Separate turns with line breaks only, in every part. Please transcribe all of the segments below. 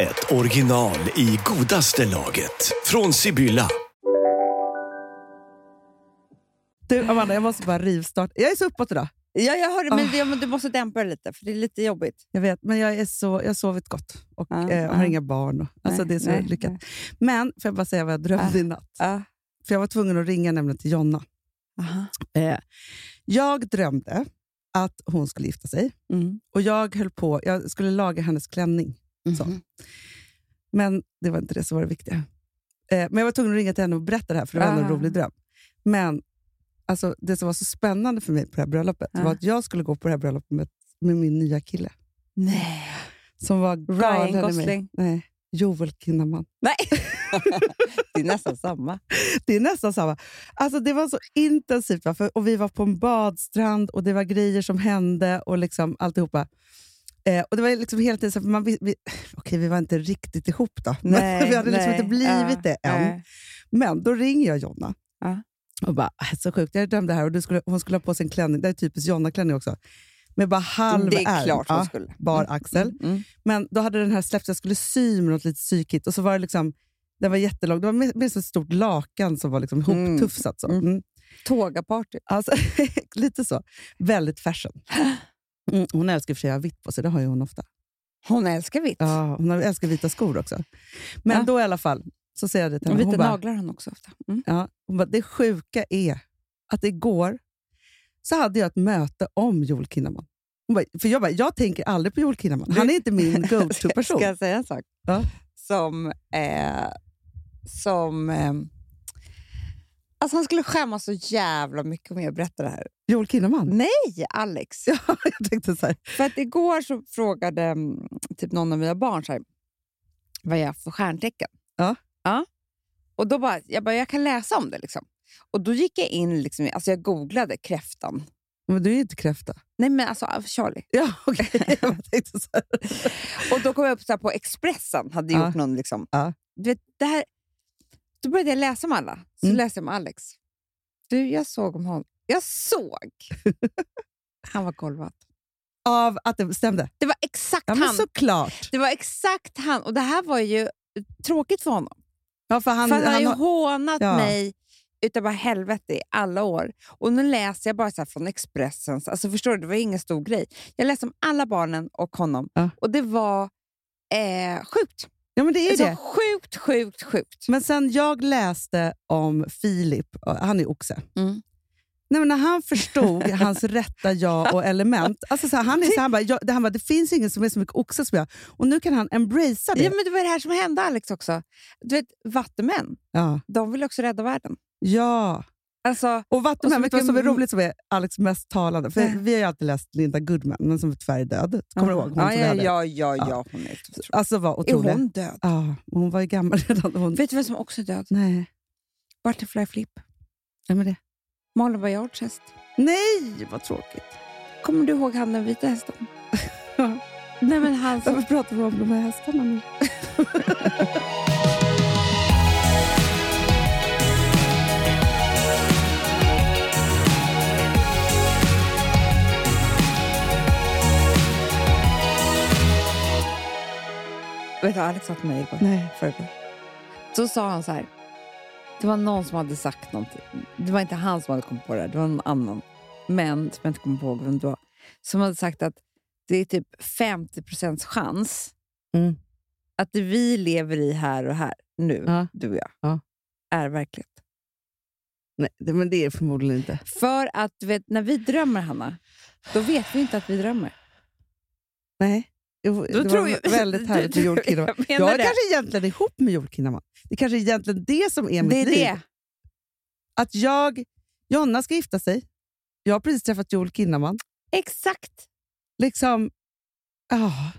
ett original i godaste laget. Från Sibylla.
Du Amanda, jag måste bara rivstarta. Jag är så uppåt idag.
Ja, jag hörde,
Ah.
men det, men du måste dämpa det lite, för det är lite jobbigt.
Jag vet, men jag, är så, jag har sovit gott och
Ja,
eh, har
ja.
inga barn. Och, alltså,
Nej,
det är så
nej,
lyckat.
nej.
Men får jag bara säga vad jag drömde
Ja.
i natt?
Ja.
För jag var tvungen att ringa nämligen till Jonna.
Aha.
Eh, jag drömde att hon skulle gifta sig
Mm.
och jag höll på, jag skulle laga hennes klänning. Så.
Mhm.
Men det var inte det som var det viktiga. Eh, men jag var tvungen att ringa till henne och berätta det här, för det var ändå en
Ah.
rolig dröm. Men alltså, det som var så spännande för mig på det här bröllopet
Ah.
var att jag skulle gå på det här bröllopet med, med min nya kille.
Nej.
Som var galen i mig.
Gosling.
Nej, Joel Kinnaman.
Nej. det är nästan samma.
Det är nästan samma. Alltså, det var så intensivt. Va? För, och Vi var på en badstrand och det var grejer som hände och liksom alltihopa. Eh, och det var liksom hela tiden så här, för man, vi, vi, okej, vi var inte riktigt ihop då. Men vi hade liksom
nej.
inte blivit
Ja,
det än.
nej.
Men då ringer jag Jonna.
Ja.
Och bara, "Ah, så sjukt, jag drömde det här och du skulle, hon skulle ha på sig en klänning. Det är typiskt Jonna-klänning också. Med bara halv
Det är
ärm.
klart
Ja,
hon skulle.
Bar axel.
Mm.
Men då hade den här släppts, jag skulle sy med något lite psykigt. Och så var det liksom, den var jättelång. Det var mer- mer som ett stort lakan som var liksom
Mm.
hoptufsat. Så.
Mm.
Mm.
Tågaparty.
Alltså, lite så. Väldigt fashion. Mm. Hon älskar i och för sig att ha vitt på sig, det har ju hon ofta.
Hon älskar vitt.
Ja, hon har- älskar vita skor också. Men
Ja.
då i alla fall, så säger jag det till
Och
henne.
vita
Hon bara,
naglar har hon också ofta. Mm.
Ja, hon bara, det sjuka är att igår så hade jag ett möte om Joel Kinnaman. Hon bara, för jag bara, jag tänker aldrig på Joel Kinnaman. Han är inte min go-to-person.
Ska jag säga en sak?
Ja.
Som... Eh, som eh, alltså han skulle skämmas så jävla mycket om jag berättar det här.
Joel Kinnaman?
Nej, Alex!
Jag tänkte så här,
För att igår så frågade mm, typ någon av mina barn så här, vad jag är för stjärntecken.
Ja.
ja. Och då bara, jag bara, jag kan läsa om det. liksom. Och då gick jag in, liksom, i- alltså jag googlade kräftan.
men du är ju inte kräfta.
Nej men alltså av Charlie.
Ja, okej. Jag tänkte så här.
Och då kom jag upp så här på Expressen, hade
Ja.
gjort någon liksom.
Ja.
Du vet, det här, då började jag läsa om alla. Så
Mm.
läste jag om Alex. Du, jag såg om honom. Jag såg! Han var golvad.
Av att det stämde?
Det var exakt
Ja, men
han.
såklart.
Det var exakt han. Och det här var ju tråkigt för honom.
Ja, för han,
för han, har ju
har-
hånat
Ja.
mig utav bara helvete i alla år. Och nu läser jag bara så här från Expressens, alltså förstår du, det var ingen stor grej. Jag läste om alla barnen och honom
Ja.
och det var eh, sjukt.
ja, men det är ju
Alltså,
det.
Sjukt, sjukt, sjukt.
Men sen jag läste om Filip, och han är oxe.
Mm.
Nej, men när han förstod hans rätta jag och element. Alltså så här, han, är så här, han, bara, jag, han bara, det finns ingen som är så mycket oxe som jag. Och nu kan han embracea det.
Ja, men det var det här som hände Alex också. Du vet, vattenmän,
Ja.
de vill också rädda världen.
ja.
Alltså,
Och
Och så
Vattenman, vet du vad
mycket-
som är roligt som är Alex mest talande? För
Nej.
vi har ju alltid läst Linda Goodman, men som tyvärr är död. Kommer du ihåg? Hon
ja,
som
ja,
är död.
ja,
Ja.
ja, ja, hon är otrolig.
Alltså var
Är
otrolig.
hon död?
Ja, hon var ju gammal redan. Hon...
Vet du vem som också är död?
Nej.
Butterfly Flip.
Ja, men det.
Malin Baryards häst.
Nej, vad tråkigt.
Kommer du ihåg han den vita hästen? Nej, men han som
Varför pratar vi om de här hästarna nu?
Vet du, Alex sa till mig igår,
Nej.
förrgår. Så sa han så här. Det var någon som hade sagt någonting. Det var inte han som hade kommit på det här, det var någon annan. Men, som jag inte kommer ihåg vem det var. Som hade sagt att det är typ 50 chans
Mm.
att det vi lever i här och här, nu,
Ja.
du och jag,
Ja.
är verkligt.
Nej, det- men det är förmodligen inte.
För att du vet, när vi drömmer, Hanna, då vet vi inte att vi drömmer.
Nej. Jo,
Då
det
tror
var
jag-
väldigt härligt med Joel Kinnaman.
Jag menar
Jag är
det.
kanske egentligen ihop med Joel Kinnaman. Det kanske är egentligen det som är mitt
Det är
liv.
det.
Att jag, Jonna ska gifta sig. Jag har precis träffat Joel Kinnaman.
Exakt.
Liksom, ja. ah.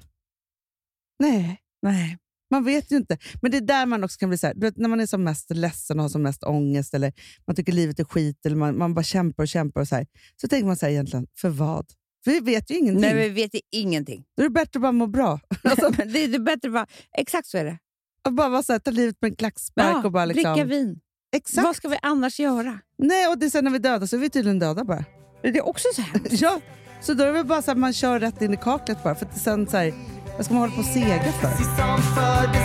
Nej.
Nej.
Man vet ju inte. Men det är där man också kan bli så här, du vet, när man är som mest ledsen och har som mest ångest eller man tycker livet är skit eller man, man bara kämpar och kämpar och så här. Så tänker man så här egentligen, för vad? För vi vet ju ingenting.
Nej, vi vet ju ingenting.
Då är det bättre att bara må bra. Alltså,
Men det, det är bättre att bara... Exakt så är det.
att bara vara så här, ta livet med en klackspark och bara liksom...
Dricka vin.
Exakt.
Vad ska vi annars göra?
Nej, och det är sen när vi är döda så är vi tydligen döda bara.
Det är också så här.
Ja, så då är det väl bara så att man kör rätt in i kaklet bara. För att sen så här, vad ska man hålla på och sega för?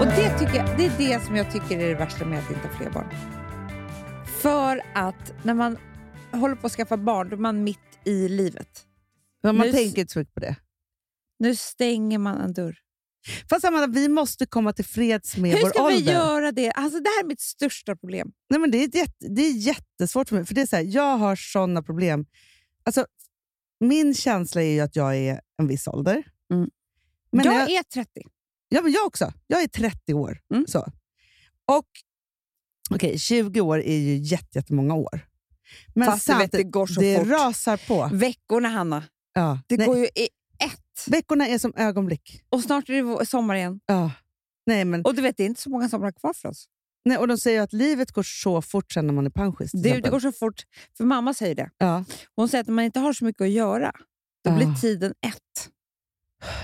Och det, tycker jag, det är det som jag tycker är det värsta med att inte ha fler barn. För att när man håller på att skaffa barn, då är man mitt i livet.
Ja, man
Nu-
tänker inte så mycket på det.
Nu stänger man en dörr.
Fast Amanda, vi måste komma till freds med
Hur
vår
ska
ålder.
vi göra det? Alltså, det här är mitt största problem.
Nej, men det, är ett jätte, det är jättesvårt för mig. För det är så här, jag har sådana problem. Alltså, min känsla är ju att jag är en viss ålder.
Mm.
Men
jag,
jag,
är 30.
ja, men jag också. Jag är 30 år.
Mm.
Så. Och okej, 20 år är ju jätte, jättemånga år. Men
Fast du vet, det går så
det
fort.
rasar på.
Veckorna, Hanna.
Ja.
Det
Ah. Nej,
går ju i ett.
Veckorna är som ögonblick.
Och snart är det vår- sommar igen.
Ja. Nej, men,
Och du vet, det är inte så många somrar kvar för oss.
nej, och de säger ju att livet går så fort sen när man är pensionist. till
Det, det
exempel.
går så fort. För mamma säger det.
ja.
Hon säger att när man inte har så mycket att göra, då blir
Ah.
tiden ett.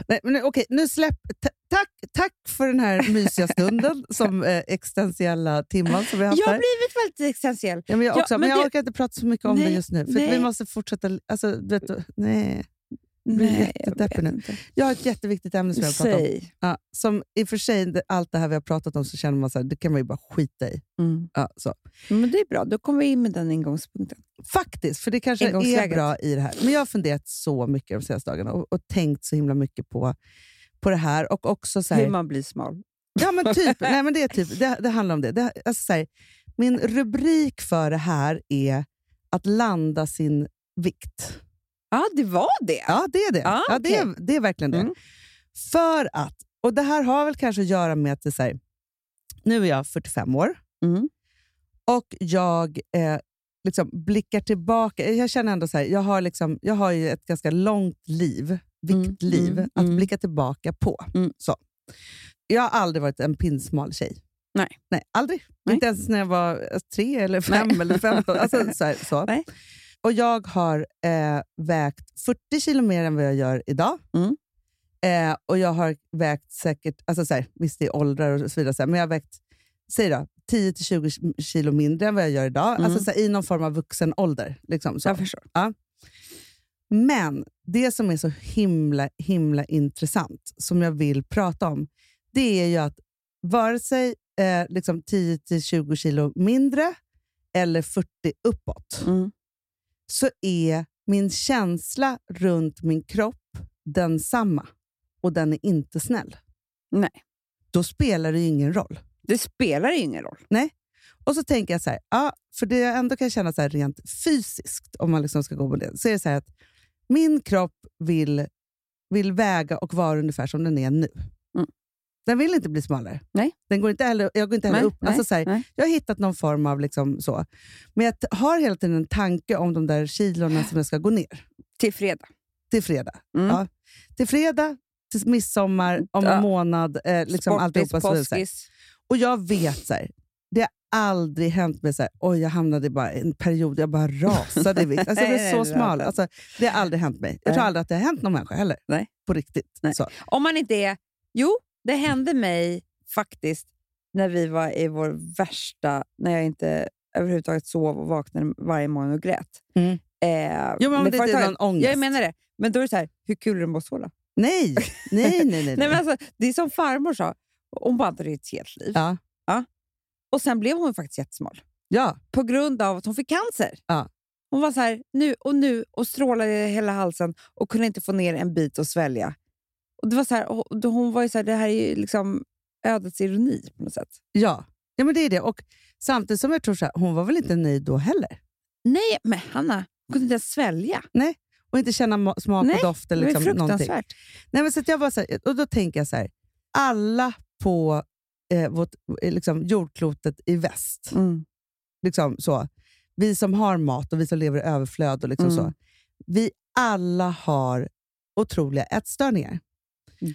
Nej, men nu- okej, nu släpp... ta- Tack, tack för den här mysiga stunden, som eh, existentiella timman som vi har haft
Jag har
här.
blivit väldigt existentiell.
Ja, men jag,
Ja,
också, men
men
jag
det-
orkar inte prata så mycket om det
Nej,
just nu. För att vi
nej.
måste fortsätta... Alltså, du vet, nej. blir jättedeppig nu.
inte.
Jag har ett jätteviktigt ämne som jag vill prata om.
Säg.
Ja, som i och för sig, det- allt det här vi har pratat om, så känner man så här, det kan man ju bara skita i.
Mm.
Ja, så.
Men det är bra, då kommer vi in med den ingångspunkten.
Faktiskt, för det kanske är
Ingångsläget.
bra i det här. Men jag har funderat så mycket de senaste dagarna och, och tänkt så himla mycket på, på det här. Och också så här,
Hur man blir smal.
Ja, men typ. Nej, men det, är typ det, det handlar om det. det alltså, så här, min rubrik för det här är att landa sin vikt.
Ja, det var det.
Ja, det är det.
Ah,
ja, det, är, det är verkligen det.
Mm.
För att, och det här har väl kanske att göra med att det är så här, nu är jag 45 år
Mm.
och jag eh, liksom blickar tillbaka. Jag känner ändå så här, jag har, liksom, jag har ju ett ganska långt liv, viktliv,
mm,
att
mm.
blicka tillbaka på.
Mm.
Så. Jag har aldrig varit en pinsmal tjej.
Nej.
Nej, aldrig.
Nej.
Inte ens när jag var eh, tre eller fem
Nej.
eller femton. Alltså, så här, så.
Nej.
Och jag har eh, vägt 40 kilo mer än vad jag gör idag.
Mm.
Eh, och jag har vägt säkert, alltså så här, visst det är åldrar och så vidare, så här, men jag har vägt säg då, 10-20 kilo mindre än vad jag gör idag.
Mm.
Alltså så här, i någon form av vuxen ålder. Liksom, så.
Jag förstår.
Men det som är så himla himla intressant, som jag vill prata om, det är ju att vare sig eh, liksom 10-20 kilo mindre eller 40 uppåt,
Mm.
så är min känsla runt min kropp densamma. Och den är inte snäll.
Nej.
Då spelar det ju ingen roll.
Det spelar ju ingen roll.
Och så tänker jag så här, ja, för det jag ändå kan känna så här rent fysiskt, om man liksom ska gå på det, så är det så här att min kropp vill, vill väga och vara ungefär som den är nu.
Mm.
Den vill inte bli smalare.
Nej.
Den går inte heller, jag går inte heller
Nej,
upp. alltså så här,
nej.
jag har hittat någon form av liksom så. Men jag t- har hela tiden en tanke om de där kilorna som jag ska gå ner
Till fredag.
till fredag.
Mm.
Ja. Till fredag, till midsommar, om
Ja.
en månad. Eh, liksom
Sportis,
alltihopa, så vidare, så här.
påskis.
Och jag vet så här, det har aldrig hänt mig så här, oj jag hamnade i bara en period, jag bara rasade i vikt. Alltså jag
Nej,
blev
nej,
så
det
smal.
där.
Alltså, det har aldrig hänt mig. Jag tror
Nej.
aldrig att det har hänt någon människa heller.
Nej.
På riktigt.
Nej.
Så.
Om man inte är... Jo, det
Mm.
hände mig faktiskt när vi var i vår värsta... När jag inte överhuvudtaget sov och vaknade varje morgon och grät.
Mm.
Eh,
Jo, men om
med
det inte är
företaget.
någon ångest.
Jag menar det. Men då är det så här, hur kul är det med att såla?
Nej, nej, nej. nej, nej.
Nej, men alltså, det är som farmor sa. Hon bara hade ett helt liv.
Ja.
Och sen blev hon faktiskt jättesmal.
ja.
På grund av att hon fick cancer.
Ja.
Hon var så här, nu och nu och strålade i hela halsen och kunde inte få ner en bit och svälja. Och det var så här, och då hon var ju så här, det här är ju liksom ödets ironi på något sätt.
ja. Ja, men det är det. Och samtidigt som jag tror så här, hon var väl inte nöjd då heller?
Nej, men Hanna, hon kunde inte ens svälja.
Och inte känna ma- smak
Nej,
och doft
Det
eller
var ju
liksom någonting.
fruktansvärt.
Nej, men så att jag bara så här, och då tänker jag så här, alla på eh, vårt, eh, liksom, jordklotet i väst
Mm.
liksom så. Vi som har mat och vi som lever i överflöd. Och liksom
Mm.
så. Vi alla har otroliga ätstörningar.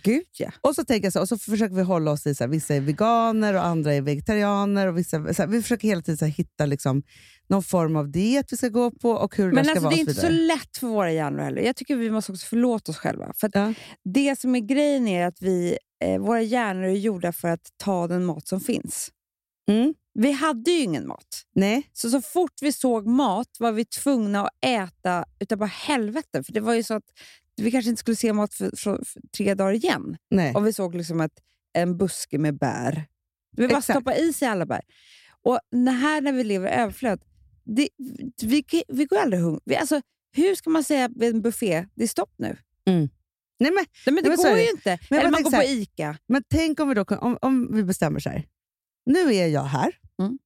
Gud ja.
Och så tänker jag så, här, och så försöker vi hålla oss i så här, vissa är veganer och andra är vegetarianer. Och vissa, så här, vi försöker hela tiden så här, hitta liksom, någon form av diet vi ska gå på och hur det där
Men
ska
alltså,
vara.
det är
och
inte så
vidare.
lätt för våra hjärnor heller. Jag tycker vi måste också förlåta oss själva. För att
Ja.
Det som är grejen är att vi, eh, våra hjärnor är gjorda för att ta den mat som finns.
Mm.
Vi hade ju ingen mat.
Nej,
Så, så fort vi såg mat var vi tvungna att äta utav bara helvete. För det var ju så att vi kanske inte skulle se mat för, för, för tre dagar igen.
nej.
Om vi såg liksom ett, en buske med bär. Vi bara
Exakt.
stoppa i sig alla bär. Och det här när vi lever i överflöd, det, vi, vi går aldrig hungriga. Vi- Alltså, hur ska man säga vid en buffé, det är stopp nu?
nej men,
Nej, men det
men så är
går
det.
ju inte.
jag bara
Eller man
tänker
går
så här-
på Ica.
men tänk om vi, då, kun- om, om vi bestämmer så här. Nu är jag här.
Mm.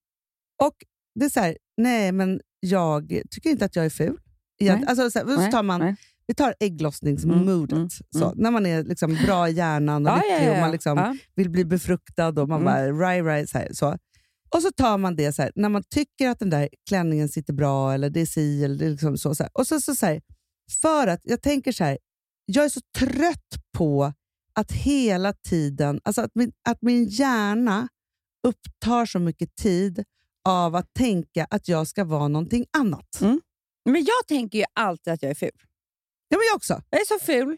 Och det är så här, nej men jag tycker inte att jag är ful. Egent-
Nej.
Alltså, så här, så
Nej,
tar man,
nej.
vi tar ägglossningsmoodet.
Mm,
Så, När man är liksom bra i hjärnan och lycklig och man liksom
Ja.
vill bli befruktad och man
Mm.
bara rai, rai, så, här, så. Och så tar man det så här, när man tycker att den där klänningen sitter bra eller det är si eller det är liksom så. så här. Och så, så, så här, för att jag tänker så här, jag är så trött på att hela tiden, alltså att min, att min hjärna upptar så mycket tid av att tänka att jag ska vara någonting annat.
Mm. Men jag tänker ju alltid att jag är ful.
Ja, men jag också.
Jag är så ful.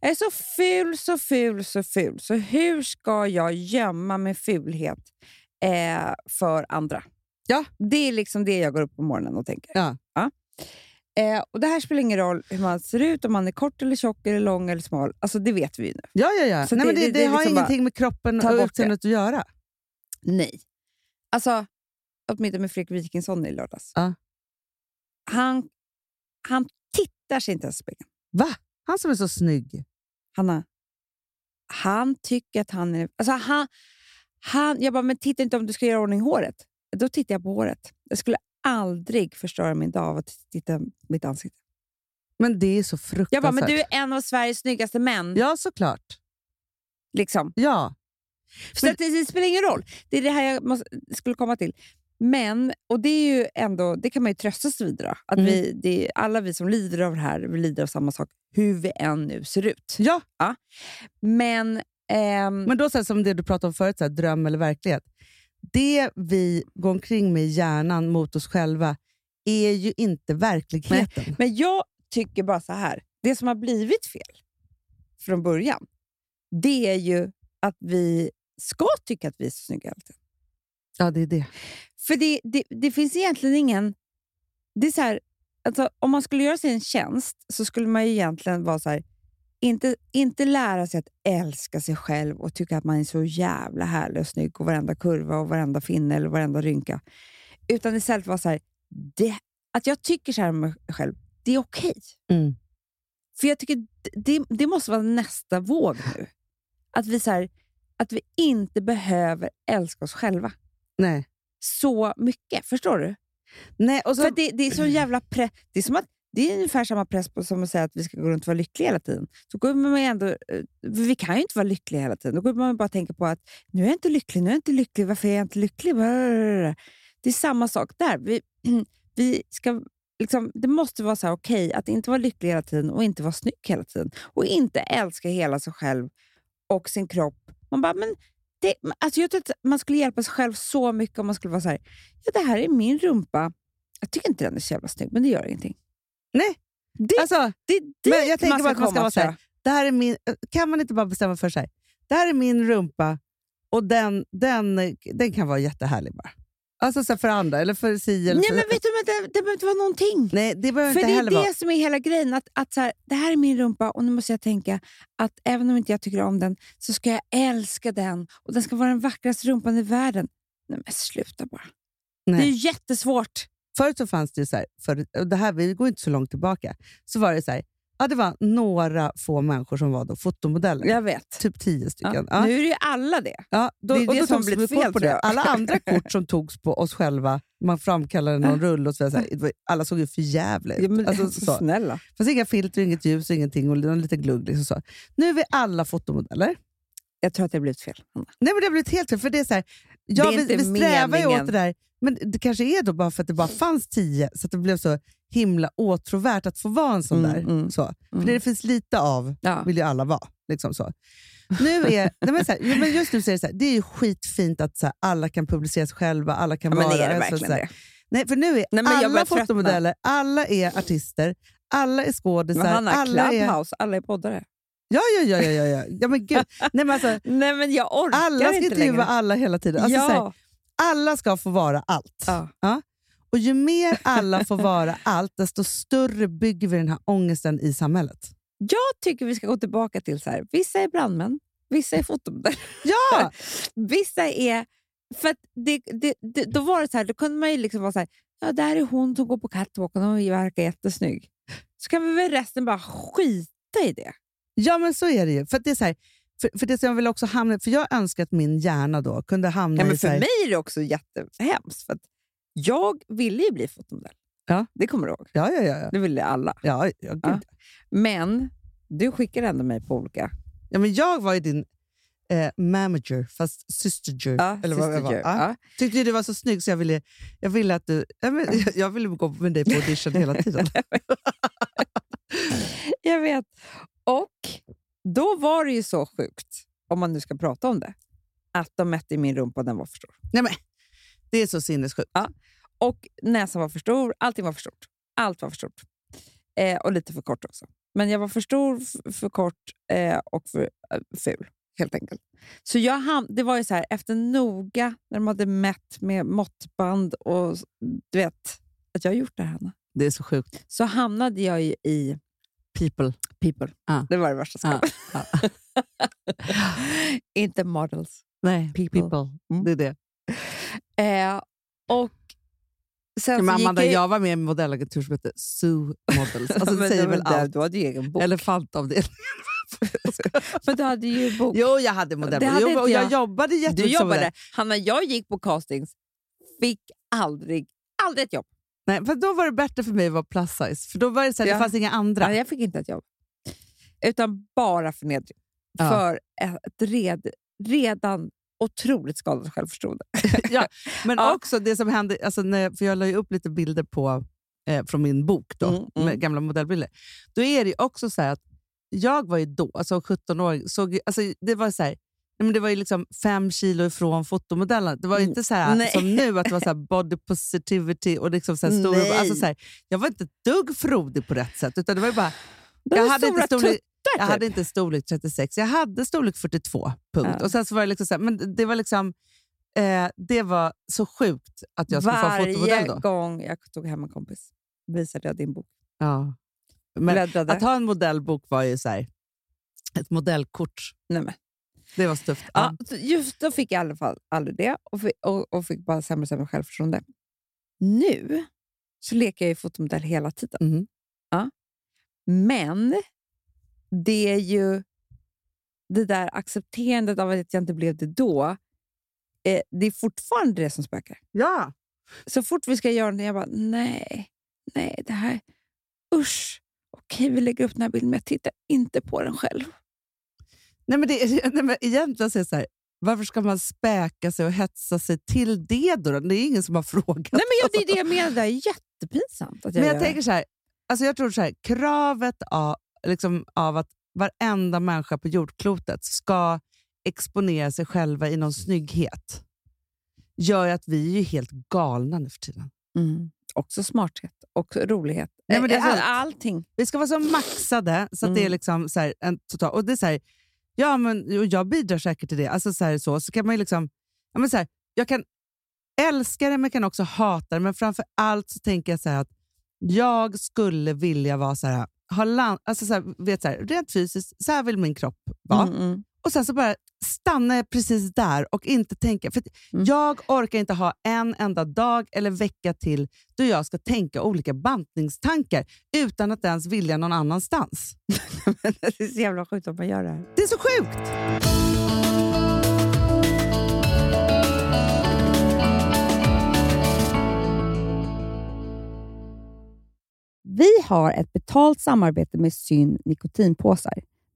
Jag är så ful, så ful, så ful. Så hur ska jag gömma min fulhet eh, för andra?
Ja.
Det är liksom det jag går upp på morgonen och tänker.
Ja.
Eh, och Det här spelar ingen roll hur man ser ut, om man är kort eller tjock, eller lång eller smal. Alltså Det vet vi ju nu.
Ja, ja, ja.
Så
Nej,
det-
men det, det,
det- det är
har
liksom bara-
ingenting med kroppen
Ta
och
bort
utseendet att göra.
Nej. Alltså, åt middag med Fredrik Wikingsson i lördags.
Ja.
Han, han tittar sig inte ens i spegeln.
Va? Han som är så snygg.
Hanna, han tycker att han är... Alltså han, han, jag bara, men titta inte om du ska göra i ordning håret. Då tittar jag på håret. Jag skulle aldrig förstöra min dag av att titta på mitt ansikte.
Men det är så fruktansvärt.
Jag bara, men du är en av Sveriges snyggaste män.
Ja, såklart.
Liksom.
Ja.
Så
Men-
att det, det spelar ingen roll. Det är det här jag måste, skulle komma till. Men, och det är ju ändå, det kan man ju trösta sig vid. då. Att
Mm.
vi, det är, alla vi som lider av det här, vi lider av samma sak. Hur vi än nu ser ut.
ja.
Men, ehm,
Men då så här, som det du pratade om förut, så här, dröm eller verklighet. Det vi går omkring med i hjärnan mot oss själva är ju inte verkligheten.
Men jag tycker bara så här. Det som har blivit fel från början, det är ju att vi ska tycka att vi är så snygga alltid.
Ja, det är det.
För det, det, det finns egentligen ingen... Det är så här, alltså, om man skulle göra sig en tjänst så skulle man ju egentligen vara så här, inte, inte lära sig att älska sig själv och tycka att man är så jävla härlig och snygg och varenda kurva och varenda finne eller varenda rynka. Utan istället vara så här, det, att jag tycker så här om mig själv, det är okej.
Mm.
För jag tycker d- det, det måste vara nästa våg nu. Att vi, så här, att vi inte behöver älska oss själva
Nej.
så mycket. Förstår du?
Nej, och
För
så,
att det, det är så jävla pre- det är som att det är ungefär samma press på som att säga att vi ska gå runt och vara lyckliga hela tiden. Så går man ju ändå, eh, för vi kan ju inte vara lyckliga hela tiden. Då går man ju bara och tänker på att nu är jag inte lycklig, nu är jag inte lycklig, varför är jag inte lycklig? Brr. Det är samma sak där. Vi, vi ska, liksom, det måste vara så här okej att inte vara lycklig hela tiden och inte vara snygg hela tiden. Och inte älska hela sig själv och sin kropp. Man bara, men det, alltså jag tror att man skulle hjälpa sig själv så mycket om man skulle vara så här, ja det här är min rumpa. Jag tycker inte den är så jävla snygg, men det gör ingenting.
Nej.
Det,
alltså,
det är
men jag
dit
tänker bara
man ska
att man ska
komma,
vara så här,
tror
det här är min, kan man inte bara bestämma för sig? Det här är min rumpa och den, den, den kan vara jättehärlig bara. Alltså så här, för andra, eller för si
jag.
eller
Nej,
för...
men vet du, men det, det behöver inte vara någonting.
Alltså, Nej, det behöver
För
inte
det är
heller vara.
det som är hela grejen. Att, att så här, det här är min rumpa och nu måste jag tänka att även om inte jag tycker om den så ska jag älska den och den ska vara den vackraste rumpan i världen. Nej men sluta bara. Det är ju
Nej.
jättesvårt.
Förut så fanns det ju så här, för, och det här, vi går inte så långt tillbaka, så var det så här, ja, det var några få människor som var då fotomodeller.
Jag vet.
Typ tio stycken. Ja.
Ja. Nu är det ju alla det.
Ja, då,
det är
och
det
då
som
togs
har blivit
vi kort
fel,
på
tror
det.
jag.
Alla andra kort som togs på oss själva, man framkallade någon rulle och så vidare, så här, det var- alla såg ju för jävligt ut. Alltså, så.
snälla.
fanns inga filter, inget ljus, ingenting och någon liten glugg. Liksom så. Nu är vi alla fotomodeller.
Jag tror att det har blivit fel. Hanna.
Nej men Det har blivit helt fel, för det är så här, ja,
Det är
vi,
inte
vi strävar ju
meningen.
åt det där, men det kanske är då bara för att det bara fanns tio, så att det blev så himla åtråvärt att få vara en sån
Mm,
där.
mm,
så.
mm.
För det det finns lite av
Ja.
vill ju alla vara. Liksom så. Nu är, nej men så här, jo, men just nu så är det så här, det är ju skitfint att så här, alla kan publicera sig själva, alla kan
Ja, men
vara...
är det
alltså,
verkligen
så här,
det?
Nej, för nu är
Nej, men jag
alla
börjar tröttna.
fotomodeller, alla är artister, alla är
Men
skådisar,
han har
alla är...
Clubhouse, alla är poddare.
Ja, ja, ja, ja, ja, ja. ja men gud. Nej, men alltså,
Nej men jag orkar
alla ska
inte
intervjua
längre.
alla hela tiden. Alltså,
ja.
så här, alla ska få vara allt.
Ja.
Och ju mer alla får vara allt, desto större bygger vi den här ångesten i samhället.
Jag tycker vi ska gå tillbaka till så här. vissa är brandmän, vissa är fotomodeller,
Ja!
vissa är... För att det, det, det, då var det så här, då kunde man ju liksom vara så här, ja där är hon som går på catwalken och verkar jättesnygg. Så kan vi väl resten bara skita i det.
Ja, men så är det ju. För, att det, är så här, för, för det som jag vill också hamna för jag önskar att min hjärna då kunde hamna
Ja, men
i... Så
för
här,
mig är det också jättehemskt. För att jag ville ju bli fotomodell.
Ja.
Det kommer du ihåg?
Ja, ja, ja. ja.
Det ville alla.
ja, ja, gud.
Ja. Men du skickar ändå mig på olika.
ja men jag var ju din eh, manager, fast sisterger.
Ja,
eller vad jag var.
sister Joe.
Ja.
Ja.
Tyckte ju du var så snygg så jag ville, jag ville att du... Ja, men, jag- jag ville gå med dig på audition hela tiden.
Jag vet. Och då var det ju så sjukt, om man nu ska prata om det, att de mätte i min rumpa den var för stor.
Nej, men, det är så sinnessjukt.
Och näsan var för stor, allting var för stort. Allt var för stort. Eh, och lite för kort också. Men jag var för stor, f- för kort eh, och för eh, ful, helt enkelt. Så jag ham- det var ju så här, efter noga, när de hade mätt med måttband och s- du vet, att jag har gjort det här, Hanna.
Det är så sjukt.
Så hamnade jag ju i
People. Ah.
people.
Ja.
Det var det värsta
Ja,
skapet.
ah.
Inte models.
Nej, people. Mm. Det är det.
Eh, och sen så
Men
Alltså, gick
Amanda,
jag...
jag var med i en modellagentur som hette Sue Models. Alltså, det
Men
säger
var
väl
där,
allt.
Du hade ju egen bok.
Elefantavdelningen.
Men du hade ju bok.
Jo, jag hade
Det
modell.
hade
Jo,
inte
och jag
jag.
jobbade jättemycket
du
som modell.
jobbade. Hanna, jag gick på castings. Fick aldrig, aldrig ett jobb.
Nej, för då var det bättre för mig att vara plus size. För då var det så här,
Ja.
det fanns inga andra.
Nej, jag fick inte ett jobb. Utan bara förnedring.
Ja.
För ett red, redan otroligt skadat självförtroende.
Ja, men
Ja.
också det som hände, alltså när, jag- för jag la ju upp lite bilder på, eh, från min bok, då,
Mm, mm.
med gamla modellbilder. Då är det ju också så här att jag var ju då, alltså 17-åring, såg, ju- alltså det var så här, nej, men det var ju liksom fem kilo ifrån fotomodellen. Det var ju
Mm.
inte så här,
Nej.
som nu, att det var så här body positivity och liksom så här stora...
Nej.
Alltså så här, jag var inte ett dugg frodig på rätt sätt. Utan det var ju bara,
De
jag
var
hade inte
stora
storlek,
tuttar,
jag
typ.
hade inte storlek 36, jag hade storlek 42. Punkt.
Ja.
Och sen så var det liksom så här, men det var liksom eh, det var så sjukt att jag skulle få en fotomodell
Varje
då.
gång jag tog hem en kompis visade jag din bok.
Ja. Men
Bläddrade.
att ha en modellbok var ju så här, ett modellkort.
Nej, men.
Det var så tufft.
Ja, så just då fick jag i alla fall aldrig det och fick, och, och fick bara sämre och sämre självförtroende. Nu så leker jag ju fotomodell hela tiden.
Mhm.
Ja. Men det är ju det där accepterandet av att jag inte blev det då. Eh, det är fortfarande det som spökar.
ja.
Så fort vi ska göra någonting, jag bara nej, nej, det här, usch. Okej, vi lägger upp den här bilden, men jag tittar inte på den själv.
Nej, men det, är- nej, men egentligen så är det så här, varför ska man späka sig och hetsa sig till det då? Det är ingen som har frågat.
Nej, men jag, det är det jag menar. Det är jättepinsamt att jag,
Men jag
gör
tänker så här, alltså jag tror så här, kravet av, liksom, av att varenda människa på jordklotet ska exponera sig själva i någon snygghet gör ju att vi är ju helt galna nu för tiden.
det. Mm. Också smarthet och rolighet. Alltså,
Nej, men det är allt.
Allting.
Vi ska vara så maxade så att det är
Mm.
liksom så här, en total... Och det är så här, ja, men jo, jag bidrar säkert till det. Alltså så, här, så, så kan man ju liksom... Ja, men så här, jag kan älska det men kan också hata det. Men framför allt så tänker jag så här att jag skulle vilja vara så här... Ha land, alltså så här, vet så här, rent fysiskt, så här vill min kropp vara.
Mm, mm.
Och sen så bara stannar jag precis där och inte tänka. För att
Mm.
Jag orkar inte ha en enda dag eller vecka till då jag ska tänka olika bantningstankar utan att ens vilja någon annanstans.
det är så jävla sjukt att man gör det här.
Det är så sjukt!
Vi har ett betalt samarbete med Syn nikotinpåsar.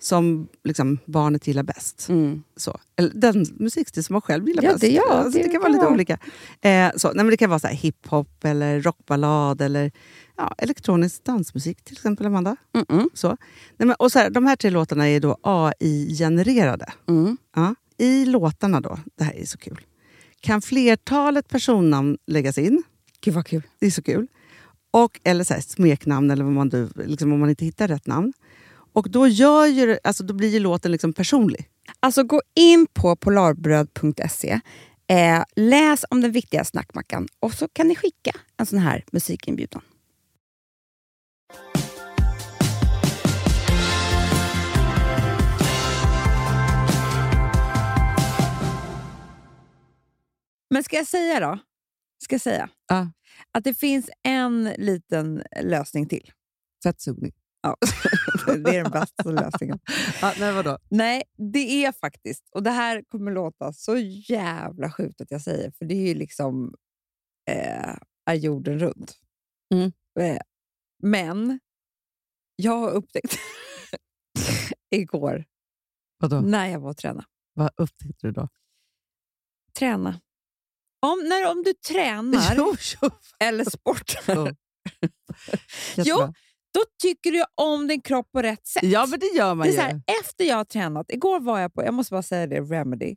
som liksom, barnet gillar bäst. Så. Eller den musikstil som man själv gillar
Ja,
bäst.
det- ja,
alltså, det,
det
kan vara lite
kan
olika. Eh, så. Nej, men det kan vara så här hiphop, eller rockballad eller ja, elektronisk dansmusik till exempel, Amanda. Så. Nej, men, och så här, de här tre låtarna är då AI-genererade. Ja. I låtarna då, det här är så kul, kan flertalet personnamn läggas in.
Gud vad kul.
Det är så kul. Och, eller så här, smeknamn, eller vad man, du- liksom, om man inte hittar rätt namn. Och då, gör ju, det- alltså, då blir ju låten liksom personlig.
Alltså gå in på polarbröd.se, eh, läs om den viktiga snackmackan och så kan ni skicka en sån här musikinbjudan. Men ska jag säga då? Ska jag säga?
Ja.
Att det finns en liten lösning till.
Fettsugning.
Ja. Det är den bästa lösningen.
Ja, nej, vadå?
Nej, det är faktiskt, och det här kommer låta så jävla sjukt att jag säger, för det är ju liksom eh, är jorden runt.
Mm.
Eh, men jag har upptäckt igår
vadå?
när jag var och tränade.
Vad upptäckte du då?
Träna. Om, när, om du tränar
Jo, jo.
eller sportar
Jo. Jättebra.
Då tycker du om din kropp på rätt sätt.
Ja, men det gör man
det är
ju.
så här, efter jag har tränat, igår var jag på, jag måste bara säga det, Remedy.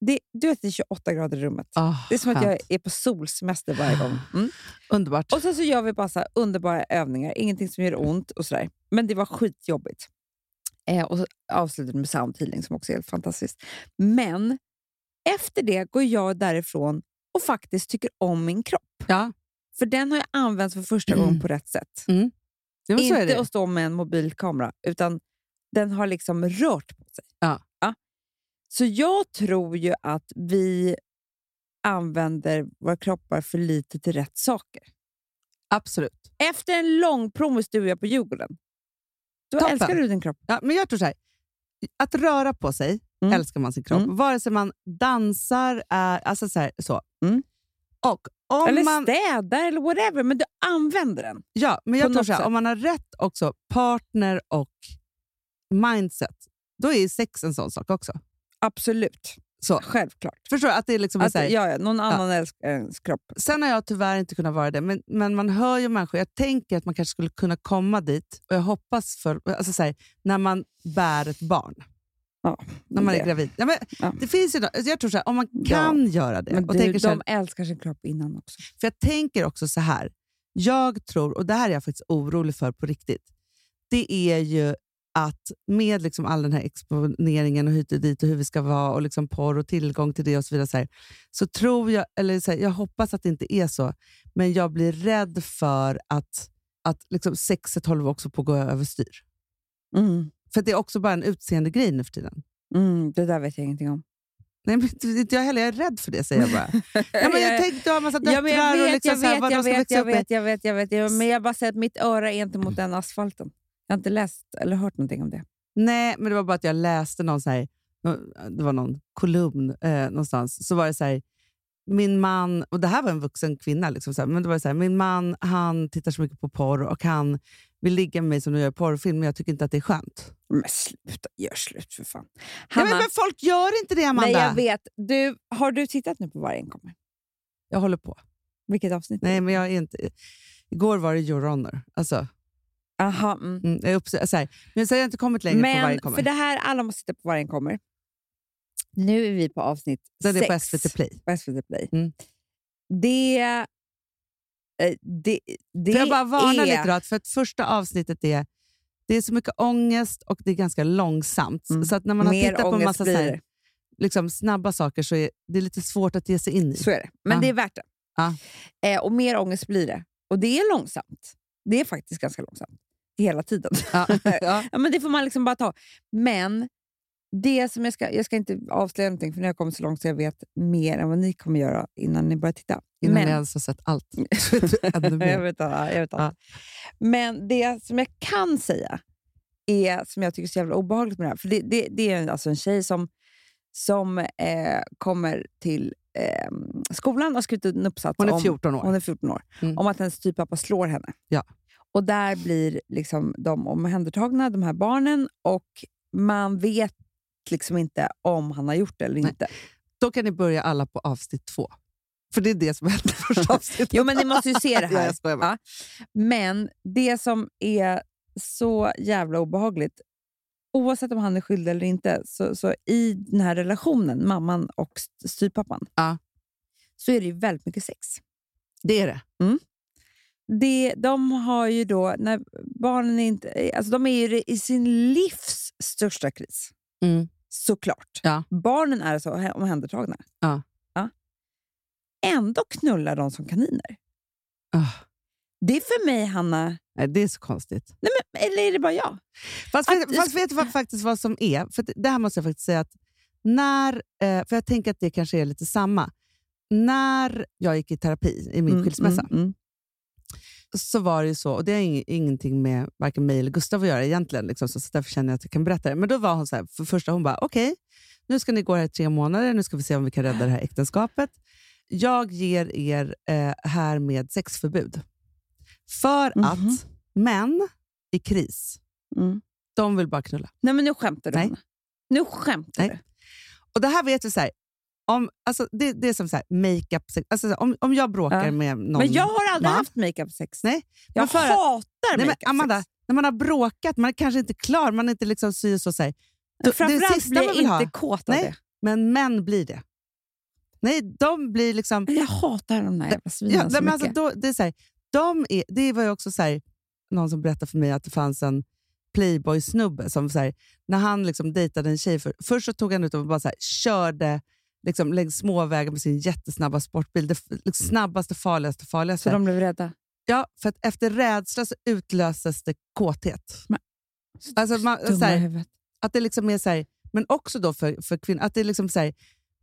Det, du vet, det är 28 grader i rummet.
Ah,
Det är som att jag
skönt.
är på solsemester varje gång. Mm.
Underbart.
Och sen så gör vi bara så här underbara övningar, ingenting som gör ont och sådär. Men det var skitjobbigt. Eh, och så avslutade med soundhealing som också är helt fantastiskt. Men efter det går jag därifrån och faktiskt tycker om min kropp.
Ja.
För den har jag använt för första gången på rätt sätt.
Ja, men så är
Inte
det.
att stå med en mobilkamera, utan den har liksom rört på sig.
Ja.
Så jag tror ju att vi använder våra kroppar för lite till rätt saker.
Absolut.
Efter en lång promenad du och jag på Djurgården, då
Toppen.
älskar du din kropp.
Ja, men jag tror så här. Att röra på sig
Mm.
älskar man sin kropp. Vare sig man dansar, är, alltså så. Här, så.
Mm.
Och om
eller
man,
städar eller whatever, men du använder den.
ja, men jag
på
tror
något
så här,
sätt.
om man har rätt också partner och mindset, då är ju sex en sån sak också.
Absolut.
Så.
Självklart.
Förstår du? Att det är liksom är
Att,
så här,
ja, ja, någon annan älskar ens kropp.
Sen har jag tyvärr inte kunnat vara det, men, men man hör ju människor. Jag tänker att man kanske skulle kunna komma dit, och jag hoppas för, alltså så här, när man bär ett barn.
Ja,
När man
det.
är gravid. Ja, men
Ja.
Det finns ju, nå- alltså jag tror så här, om man
Ja.
kan göra det.
Men
Och
du,
tänker
de
så här,
älskar sin kropp innan också.
för jag tänker också så här. Jag tror, och det här är jag faktiskt orolig för på riktigt, det är ju att med liksom all den här exponeringen och hit och dit och hur vi ska vara och liksom porr och tillgång till det och så vidare, så, här, så tror jag, eller så här, jag hoppas att det inte är så, men jag blir rädd för att, att liksom sexet håller också på att gå överstyr.
Mm.
För det är också bara en utseende grej nu för tiden.
Mm, det där vet jag ingenting om.
Nej, men det- inte jag heller. Jag är rädd för det, säger jag bara. ja, men jag tänkte, du har en massa döttrar
Ja, men jag
och
vet,
liksom
jag
så här,
vet,
vad
jag
de ska
vet,
växa
jag
upp med.
vet, jag vet, jag vet. Jag- Men jag bara säger att mitt öra är inte mot den asfalten. Jag har inte läst eller hört någonting om det.
Nej, men det var bara att jag läste någon, så här, det var någon kolumn eh, någonstans. Så var det så här, min man, och det här var en vuxen kvinna, liksom, så här, men det var så här, min man han tittar så mycket på porr och han vill ligga med mig som du gör i porrfilm, men jag tycker inte att det är skönt.
Men sluta, gör slut för fan.
Ja, men,
Hanna,
men folk gör inte det, Amanda!
nej, jag vet. Du, har du tittat nu på Vargen kommer?
Jag håller på.
Vilket avsnitt?
Nej, men jag är inte... Igår var det Your Honor. Alltså,
Aha, mm.
mm, jag är upp, så här, men så har jag inte kommit längre på varje
Men
kommer.
för det här, alla måste titta på Vargen kommer. Nu är vi på avsnitt
Den är
sex.
på SVT Play.
på SVT Play.
Mm.
Det, eh, det, det
Får jag bara varna
är...
lite då, att för att första avsnittet är, det är så mycket ångest och det är ganska långsamt.
Mm.
Så att när man har
Mer
tittat på en
ångest
massa så
blir
här,
det.
liksom snabba saker så är det lite svårt att ge sig in i.
Så är det. Men
Ja.
det är värt det.
Ja.
Eh, och mer ångest blir det. Och det är långsamt. Det är faktiskt ganska långsamt. Hela tiden.
Ja, ja.
Ja, men det får man liksom bara ta. Men det som jag ska, jag ska inte avslöja någonting för nu har jag kommit så långt så jag vet mer än vad ni kommer göra innan ni börjar titta.
Innan
men,
jag ens har sett allt. Så vet du ännu mer.
jag vet, allt, jag vet allt. Men det som jag kan säga, är som jag tycker är så jävla obehagligt med det här, för det, det, det är alltså en tjej som, som eh, kommer till eh, skolan och har skrivit en uppsats
Hon är
om,
14 år.
hon är 14 år,
Mm.
om att hennes styvpappa slår henne.
Ja.
Och där blir liksom de omhändertagna, de här barnen, och man vet liksom inte om han har gjort det eller
Nej.
inte.
Då kan ni börja alla på avsnitt två. För det är det som hände i första avsnittet.
Jo, men ni måste ju se det
Ja,
här.
jag skojar bara.
Ja. Men det som är så jävla obehagligt, oavsett om han är skyldig eller inte, så, så i den här relationen, mamman och st- styvpappan,
Ja.
så är det ju väldigt mycket sex. Mm.
Det är det.
Det, de har ju då, när barnen är inte, alltså de är ju i sin livs största kris.
Mm.
Såklart.
Ja.
Barnen är så hä- omhändertagna.
Ja.
Ja. Ändå knullar de som kaniner.
Ah,
Det är för mig, Hanna,
nej, det är så konstigt.
Nej, men, eller är det bara jag?
Fast,
Att-
fast vet du vad, faktiskt vad som är? För att det här måste jag faktiskt säga. att när, eh, För jag tänker att det kanske är lite samma. När jag gick i terapi i min skilsmässa
Mm, mm,
så var det ju så, och det har ing- ingenting med varken mig eller Gustav att göra egentligen, liksom, så, så därför känner jag att jag kan berätta det. Men då var hon så här, för första hon bara, okej, nu ska ni gå här i tre månader, nu ska vi se om vi kan rädda det här äktenskapet. Jag ger er eh, här med sexförbud. För
Mhm.
att män i kris,
mm, mm.
de vill bara knulla.
Nej, men nu skämtar du.
Nej.
Hanna. Nu skämtar
Nej.
du.
Och det här vet vi så här, Om, alltså, det, det är som så här, makeup sex. Alltså, så här, om, om jag bråkar
Ja.
med någon...
Men jag har aldrig
man.
haft makeup-sex.
Nej, men
Jag
för att-
hatar
Nej, men
makeup-sex.
Amanda, när man har bråkat, man är kanske inte klar, man är inte liksom sy och så. så här. Du- det
Framförallt
sista
blir
man
jag
vill
inte
ha.
kåt av
Nej.
det.
Men män blir det. Nej, de blir liksom...
Jag hatar de där jävla svinen
Ja,
så
nej, men
mycket.
alltså, då, det, är så här, de är, det var ju också så här, någon som berättade för mig att det fanns en playboy-snubbe som så här, när han liksom dejtade en tjej, för, först så tog han ut och bara så här, körde liksom, längs småvägar med sin jättesnabba sportbil. Det f- liksom, snabbaste, farligaste, farligaste.
Mm. Så de blev rädda.
Ja, för att efter rädsla så utlöses det kåthet.
Men-
Alltså, man,
Dumma
så här,
huvudet.
att det liksom är så här, men också då för, för kvinnor, att det är liksom så här,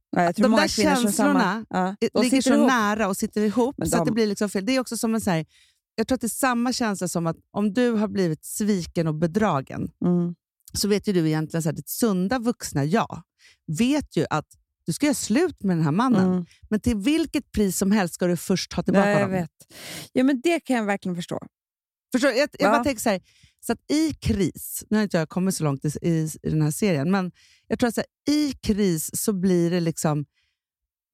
Ja, jag tror
de
många
där
kvinnor som
känslorna,
samma, ja, de
ligger
sitter
så
ihop.
nära och sitter ihop
Men
så att
de-
det blir liksom fel. Det är också som en så här, jag tror att det är samma känsla som att om du har blivit sviken och bedragen
Mm.
så vet ju du egentligen så här, ditt sunda vuxna jag vet ju att du ska göra slut med den här mannen.
Mm.
Men till vilket pris som helst ska du först ha tillbaka
Nej, jag
honom.
vet. Ja, men det kan jag verkligen förstå.
Förstår, du? jag jag
Ja.
bara tänker så här, så att i kris, nu har inte jag kommit så långt i, i, i den här serien, men jag tror att så här, i kris så blir det liksom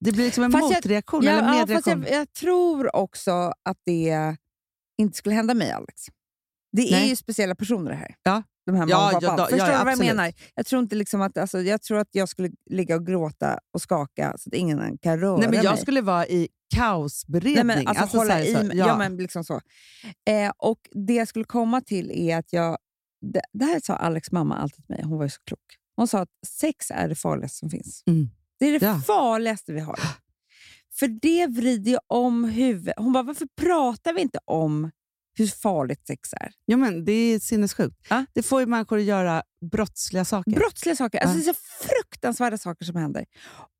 det blir liksom en
Fast jag-
motreaktion
Ja,
eller
ja, fast
medreaktion.
jag, jag tror också att det inte skulle hända mig, Alex. Det är
Nej.
ju speciella personer det här.
Ja.
De här
Ja,
mamma och
ja,
pappan.
ja,
Förstår
ja,
du vad jag
absolut.
menar? Jag tror, inte liksom att, alltså, jag tror att jag skulle ligga och gråta och skaka så att ingen kan röra
Nej, men jag
mig.
skulle vara i kaosberedning.
Nej, men, alltså,
så
hålla
här,
i
så-
mig.
ja.
Ja. men liksom så. Eh, och Det jag skulle komma till är att jag... Det, det här sa Alex mamma alltid till mig. Hon var ju så klok. Hon sa att sex är det farligaste som finns.
Mm.
Det är det
Ja.
farligaste vi har. För det vrider ju om huvudet. Hon bara, varför pratar vi inte om hur farligt sex är?
ja, men det är sinnessjukt.
Ja.
Det får ju människor att göra brottsliga saker.
Brottsliga saker. Alltså,
Ja.
Det är så fruktansvärda saker som händer.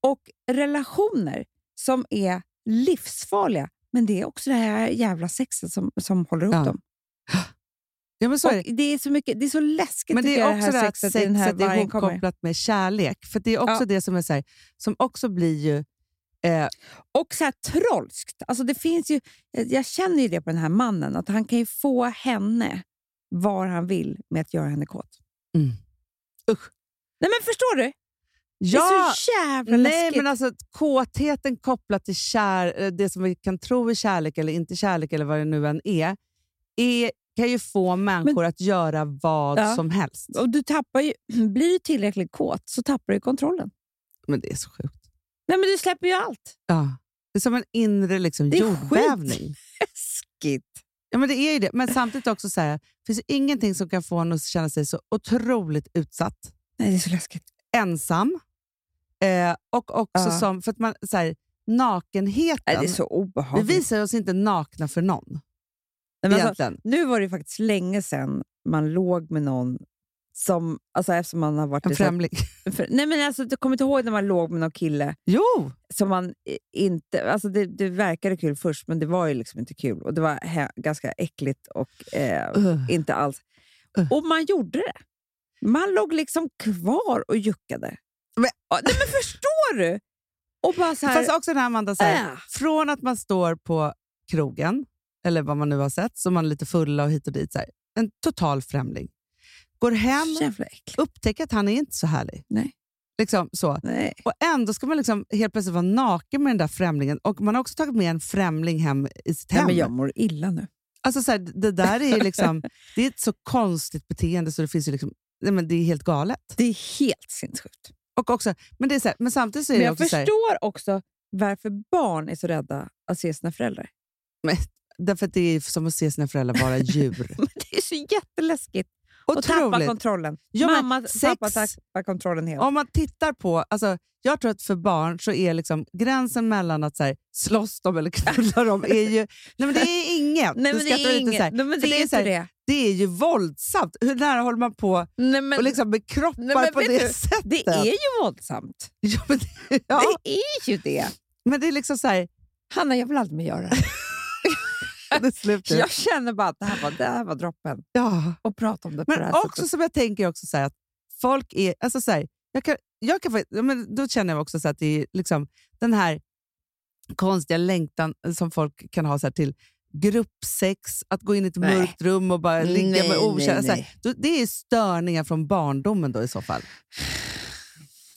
Och relationer som är livsfarliga. Men det är också det här jävla sexet som, som håller ihop
Ja.
dem.
ja, men så är det.
Och det, är så mycket, det är så läskigt
Men det
tycker
är
jag,
också
det här sexet, i den här
är
vargen kommer.
ihopkopplat med kärlek. För det är också
Ja.
det som är så här, som också blir ju... Eh,
Och så här trolskt. Alltså det finns ju, jag jag känner ju det på den här mannen, att han kan ju få henne var han vill med att göra henne kåt.
Mm. Usch.
Nej men förstår du? Det är
ja,
så jävla
nej,
läskigt.
men alltså kåtheten kopplat till kär, eh, det som vi kan tro är kärlek eller inte kärlek eller vad det nu än är, är kan ju få människor att göra vad
Ja.
som helst.
Och du tappar ju, blir du tillräckligt kåt så tappar du kontrollen.
Men det är så sjukt.
Nej men du släpper ju allt.
Ja. Det är som en inre liksom,
Det är
jordbävning.
Läskigt.
Ja, men det är ju det. Men samtidigt också så här, det finns ju ingenting som kan få en att känna sig så otroligt utsatt,
Nej det är så läskigt.
ensam eh, och också
Ja.
som... För att man, så här,
Nej,
nakenheten.
det är så
vi
obehagligt.
visar oss inte nakna för någon.
Nej, men alltså,
egentligen.
Nu var det ju faktiskt länge sedan man låg med någon som, alltså eftersom man har varit
En
i så-
främling.
för, nej men alltså, du kommer inte ihåg när man låg med någon kille
Jo!
som man i- inte, alltså det, det verkade kul först men det var ju liksom inte kul och det var he, ganska äckligt och eh,
Ugh.
inte alls.
Ugh.
Och man gjorde det. Man låg liksom kvar och juckade.
Men-
Ja, nej men förstår du? Och bara så här,
Fast också den här Amanda, så här,
Äh.
från att man står på krogen, eller vad man nu har sett, så man är lite fulla och hit och dit. Så här, en total främling. Går hem,
så jävla äckligt.
upptäcker att han är inte så härlig.
Nej.
Liksom, så.
Nej.
Och ändå ska man liksom helt plötsligt vara naken med den där främlingen. Och man har också tagit med en främling hem i sitt
nej
hem.
men jag mår illa nu.
Alltså så här, det där är ju liksom, det är ett så konstigt beteende så det finns ju liksom, nej men det är helt galet.
Det är helt sinnessjukt.
Och också, men, det är så här, men samtidigt så är
Men
det
jag
också så här,
förstår också varför barn är så rädda att se sina föräldrar.
därför att det är som att se sina föräldrar vara djur.
Men det är så jätteläskigt. Och tappa
Otroligt.
kontrollen.
Ja, men
Mamma
sex-
pappa tappar kontrollen helt.
Om man tittar på, alltså, jag tror att för barn så är liksom gränsen mellan att så här, slåss dem eller knulla dem, är ju, nej men det är inget.
Nej,
Du
men det
skrattar
är
lite
inget.
så här,
Nej, men
för
det
det
är
är så
inte
här-
det.
det är ju våldsamt. Hur nära håller man på
Nej, men,
och liksom med kroppar
Nej, men
på
vet
det
du,
sättet?
det är ju våldsamt.
ja, men, det- ja,
Det är ju det.
men det är liksom så här,
Hanna, jag vill aldrig mer göra det här.
det är slut nu.
Jag känner bara att det här var, det här var droppen.
Ja.
Och prata om det på det
Men
här
också
sättet.
som jag tänker också så här, att folk är... Alltså så här, jag kan, jag kan, fakt- ja, men då känner jag också så här att det är liksom den här konstiga längtan som folk kan ha så här till gruppsex, att gå in i ett
Nej.
mörkt rum och bara ligga
Nej,
med
nej,
okända. så här,
nej.
då- Det är störningar från barndomen då i så fall.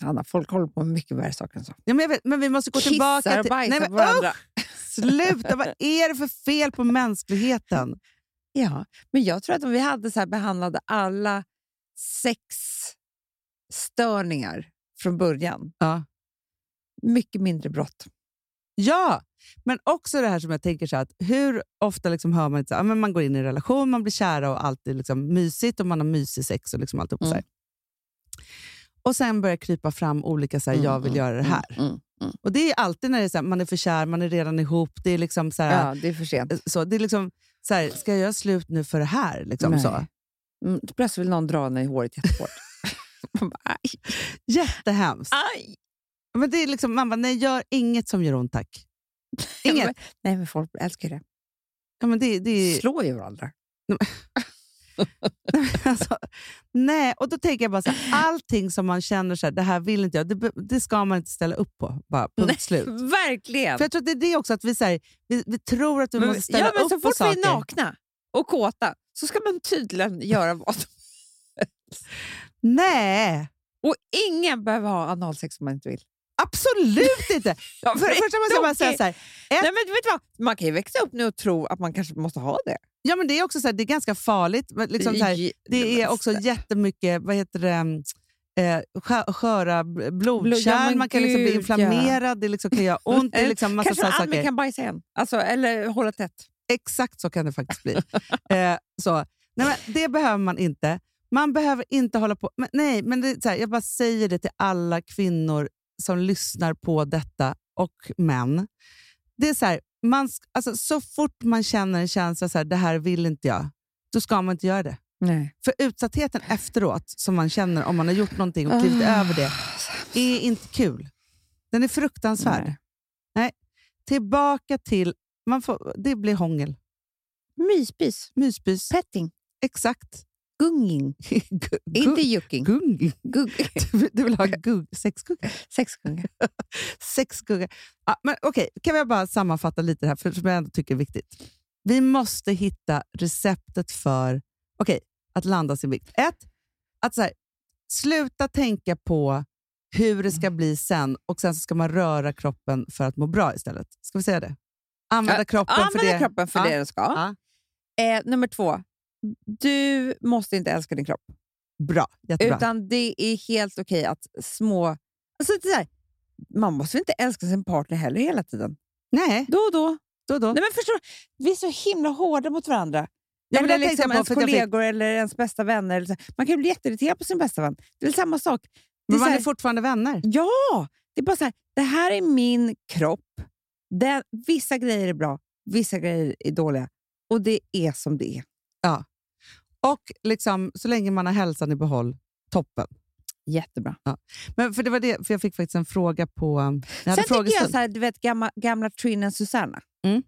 Hanna, folk håller på med mycket värre saker än så.
Ja, men, jag vet, men vi måste gå tillbaka
Kissar och
till...
bajsar
men,
på varandra.
usch, sluta! Vad är det för fel på mänskligheten?
Ja, men jag tror att om vi hade så här behandlade alla sexstörningar från början,
Ja.
mycket mindre brott.
Ja, men också det här som jag tänker så här, att hur ofta liksom hör man att så här, ja, men man går in i en relation, man blir kära och allt är liksom mysigt och man har mysig sex och liksom allt upp
Mm.
så här. Och sen börjar krypa fram olika så här,
Mm,
jag vill
mm,
göra det här.
mm,
Och det är alltid när det är så här, man är för kär, man är redan ihop, det är liksom så här,
Ja, Eh, det är för sent.
så, det är liksom så här ska jag göra slut nu för det här? Liksom
Nej.
så.
Mm, plötsligt vill någon dra henne i håret jättehårt. Man bara, aj,
Jättehemskt.
Ah.
aj.
Men det är liksom, man bara, nej gör inget som gör ont tack. Inget.
Nej, men folk älskar ju det.
Ja, men det, det är,
Slå ju varandra.
Alltså, nej, och då tänker jag bara så här, allting som man känner så här, det här vill inte jag, det, be- det ska man inte ställa upp på. Bara punkt slut.
Verkligen!
För jag tror att det är det också, att vi, så här, vi, vi tror att vi
Men-
måste ställa
ja, men
upp
så
på
fort vi är
saker.
nakna och kåta så ska man tydligen göra vad som
Nej,
Och ingen behöver ha analsex om man inte vill.
absolut inte!
Ja,
För det första måste jag bara säga så här,
Nej, men vet du vad? Man kan ju växa upp nu och tro att man kanske måste ha det.
ja, men det är också så här, det är ganska farligt. men Liksom så här,
I-
det är också jättemycket, vad heter det, mm, eh, skö- sköra bl- blodkärl,
men
man kan liksom bli
gud, ja. Eh,
inflammerad, det liksom kan göra ont, det är liksom massa
Kanske
sådana
en
saker.
kan bajsa igen. Alltså, eller hålla tätt.
Exakt så kan det faktiskt bli. eh, så. Nej, men det behöver man inte. Man behöver inte hålla på... Men, nej, men det, är så här, jag bara säger det till alla kvinnor som lyssnar på detta och män. Det är så här, man, sk- alltså, så fort man känner en känsla så här, det här vill inte jag, då ska man inte göra det.
Nej.
För utsattheten efteråt som man känner om man har gjort någonting och klivit över det, är inte kul. Den är fruktansvärd. Nej.
Nej.
Tillbaka till... Man får, det blir hångel.
Myspis.
Mysbys.
Petting.
Exakt.
Gunging.
Gu-
Inte
gu-
jucking.
Gung.
Gug.
Du vill- Du vill ha gugg, sexgugga?
Sexgunga.
Sexgugga. Ja, men okej, kan vi bara sammanfatta lite det här, för som jag ändå tycker är viktigt. Vi måste hitta receptet för okej, att landa sin vikt. Ett, att så här, sluta tänka på hur det ska bli sen och sen så ska man röra kroppen för att må bra istället. Ska vi säga det? Använda
Ja,
kroppen för
Använda
det.
kroppen för
Ja.
det den ska.
Ja.
Eh, nummer två. Du måste inte älska din kropp.
Bra, jättebra.
Utan det är helt okej att små... Alltså det är så här, man måste väl inte älska sin partner heller hela tiden?
Nej,
Då och då.
då och då.
Nej, men förstår, du? vi är så himla hårda mot varandra.
Ja, men
eller
det tänkte jag
liksom
på,
ens
för att jag fick-
kollegor eller ens bästa vänner. eller så. Man kan ju bli jätteirriterad på sin bästa vän. Det är väl samma sak. Det är
Men
så
man
här,
är fortfarande vänner.
Ja! Det är bara så här, det här är min kropp. Den, vissa grejer är bra, vissa grejer är dåliga. Och det är som det är.
Och liksom, så länge man har hälsan i behåll, toppen.
Jättebra.
Men för det var det, för jag fick faktiskt en fråga på... Jag hade
Sen tycker jag
frågestund.
så här, du vet gamla, gamla Trin och Susanna.
Mm.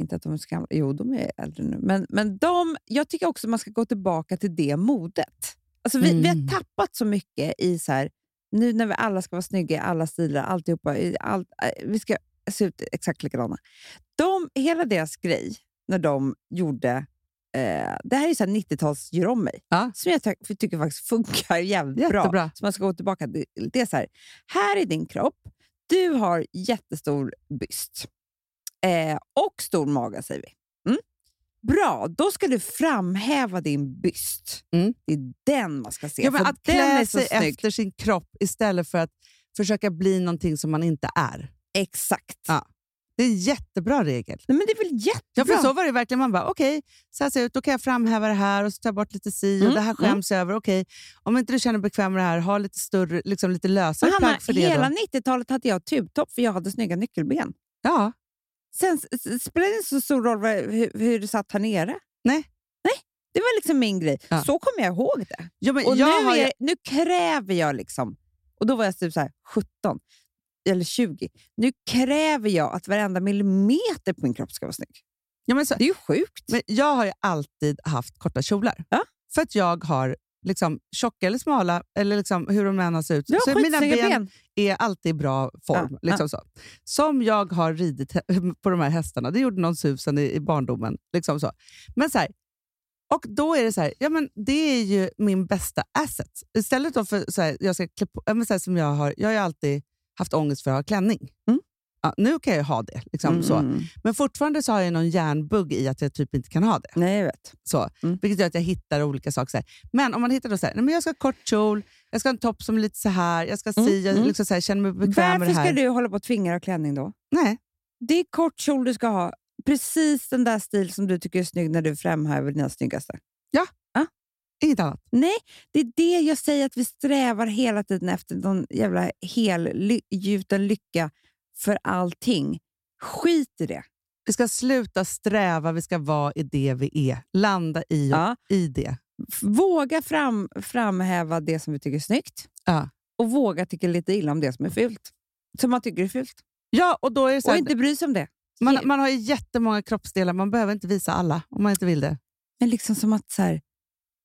Inte att de är så gamla. Jo, de är äldre nu. Men, men de, jag tycker också man ska gå tillbaka till det modet. Alltså vi, vi
Mm.
har tappat så mycket i så här, nu när vi alla ska vara snygga i alla stilar, alltihopa, i allt, eh, vi ska se ut exakt likadana. De, hela deras grej, när de gjorde, eh, det här är så här 90-tals gör om mig,
Ja.
som jag ty- tycker faktiskt funkar jävligt bra.
Jättebra.
Så man ska gå tillbaka till det är så här. Här är din kropp. Du har jättestor byst. Eh, och stor mage säger vi. Mm. Bra, då ska du framhäva din byst.
Mm.
Det är den man ska se.
Ja, men
för
att
den är
klä
så
sig
snygg.
efter sin kropp istället för att försöka bli någonting som man inte är.
Exakt.
Ja. Det är en jättebra regel.
Nej, men det är väl
Ja, för
jättebra?
så var det verkligen. Man bara, okej, så här ser jag ut. Då kan jag framhäva det här och så tar jag bort lite si och
Mm,
det här skäms jag över. Okej, om inte du känner dig bekväm med det här, ha lite större, liksom lite lösare
Hanna,
plagg för det
hela
då.
90-talet hade jag tubtopp för jag hade snygga nyckelben.
Ja,
Sen s- s- spelade det inte så stor roll vad, hur, hur det satt här nere.
Nej.
Nej, det var liksom min grej.
Ja.
Så kommer jag ihåg det.
ja men
Och
jag
nu,
har
är,
ju-
nu kräver jag liksom, och då var jag typ så här 17 eller 20. Nu kräver jag att varenda millimeter på min kropp ska vara snygg.
ja, men så,
Det är ju sjukt.
Men jag har ju alltid haft korta kjolar.
Ja.
För att jag har liksom tjocka eller smala, eller liksom hur de än har sett ut,
du har
så mina ben,
skitsnygga ben.
är alltid i bra form.
Ja,
Liksom Så. Som jag har ridit hä- på de här hästarna. Det gjorde någon susen i, i barndomen. Liksom så. Men så här, Och då är det så här, ja, men det är ju min bästa asset. Istället då för så här, jag ska klä på, ja, men så här som jag har, jag har ju alltid haft ångest för att ha klänning.
Mm.
Ja, nu kan jag ju ha det, liksom, så.
Mm.
men fortfarande så har jag någon hjärnbugg i att jag typ inte kan ha det.
Nej, jag vet.
Så,
Mm.
Vilket gör att jag hittar olika saker. Så här. Men om man hittar då så här, nej, men jag ska ha kort kjol, jag ska ha en topp som är lite så här, jag ska si, jag
mm.
liksom så här, känner mig bekväm med
Varför
det
ska
här.
du hålla på och tvinga dig klänning då?
Nej.
Det är kort kjol du ska ha. Precis den där stil som du tycker är snygg när du framhäver dina snyggaste.
Inget annat.
Nej, det är det jag säger att vi strävar hela tiden efter. Någon jävla helgjuten lycka för allting. Skit i det.
Vi ska sluta sträva, vi ska vara i det vi är. Landa i,
Ja.
i det.
F- Våga fram, framhäva det som vi tycker är snyggt
Ja.
och våga tycka lite illa om det som är fult. Som man tycker är fult.
Ja, och då är det så
Och
här,
inte bry sig om det.
man, man har ju jättemånga kroppsdelar, man behöver inte visa alla om man inte vill det.
Men liksom som att så här,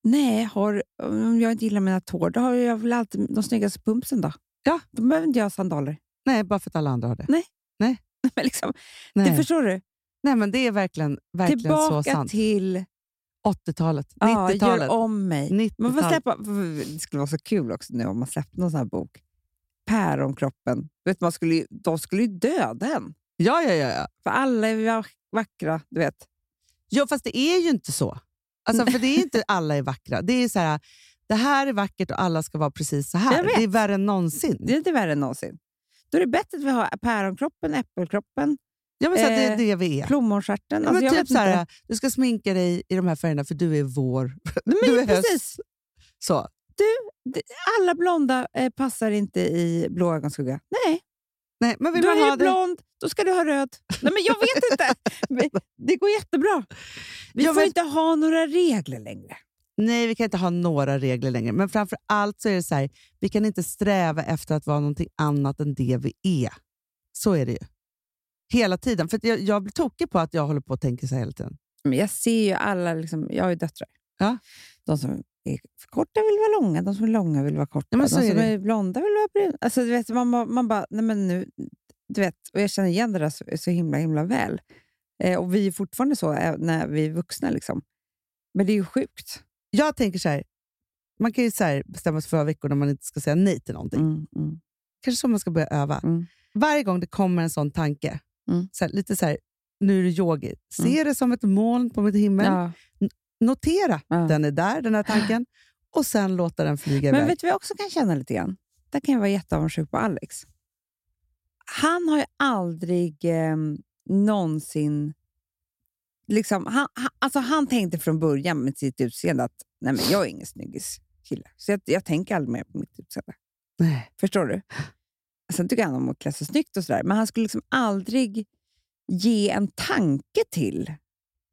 nej, har, om jag inte gillar mina tår, då har jag väl alltid de snyggaste pumpsen då.
Ja.
Då behöver inte jag ha sandaler.
Nej, bara för att alla andra har det.
Men liksom,
Nej,
Mm, det förstår du?
Nej men det är verkligen, verkligen så
Tillbaka
sant.
till
80-talet,
ja, gör
90-talet.
om mig.
90-talet.
Man får släppa, det skulle vara så kul också nu om man släppte någon sån här bok. Päronkroppen. Vet, man skulle, ju- de skulle ju döda en.
Ja, ja, ja, ja.
För alla är vack- vackra, du vet.
Jo, fast det är ju inte så. Alltså, för det är inte alla är vackra. Det är så här, det här är vackert och alla ska vara precis så här.
Jag vet.
Det är värre än någonsin.
Det är inte värre än någonsin. Då är det bättre att vi har päronkroppen, äppelkroppen,
ja, men så här, det är
Eh,
det vi är.
plommonstjärten.
Ja,
Alltså,
men
jag vet
typ så
inte.
här, du ska sminka dig i de här färgerna för du är vår.
Nej, men
du är
precis.
höst. Så.
alla blonda eh, passar inte i blå ögonskugga. Nej,
Nej, men vill
då
man
är
ha
du
det?
blond, då ska du ha röd. Nej, men jag vet inte. Men Det går jättebra. Vi
Jag
får
vet-
inte ha några regler längre.
Nej, vi kan inte ha några regler längre. Men framför allt så är det så här, vi kan inte sträva efter att vara någonting annat än det vi är. Så är det ju. Hela tiden. För att jag, jag blir tokig på att jag håller på och tänker så här hela tiden.
Men jag ser ju alla, liksom, jag har ju döttrar.
Ja.
De som är för korta vill vara långa, de som är långa vill vara korta,
Ja, men så
de
är
som
det.
är blonda vill vara bruna. Alltså, du vet, man, bara- man bara, nej men nu, du vet, och jag känner igen det där så, så himla, himla väl. Eh, och vi är fortfarande så eh, när vi är vuxna. Liksom. Men det är ju sjukt.
Jag tänker så här, man kan ju så här bestämma sig för några veckor när man inte ska säga nej till någonting. Kanske så man ska börja öva.
Mm.
Varje gång det kommer en sån tanke,
Mm.
så här, lite så här, nu är det yogi. Se
Mm.
det som ett moln på mitt himmel.
ja.
Notera,
Ja.
den är där, den här tanken. Och sen låta den flyga
Men
iväg.
vet du vad jag också kan känna lite grann? Där kan jag vara jätteavundsjuk på Alex. Han har ju aldrig eh, någonsin... Liksom, han, han, alltså han tänkte från början med sitt utseende att Nej, men jag är ingen snyggis kille, så jag, jag tänker aldrig mer på mitt utseende.
Nej.
Förstår du? Sen tycker han om att klä sig snyggt och sådär, men han skulle liksom aldrig ge en tanke till...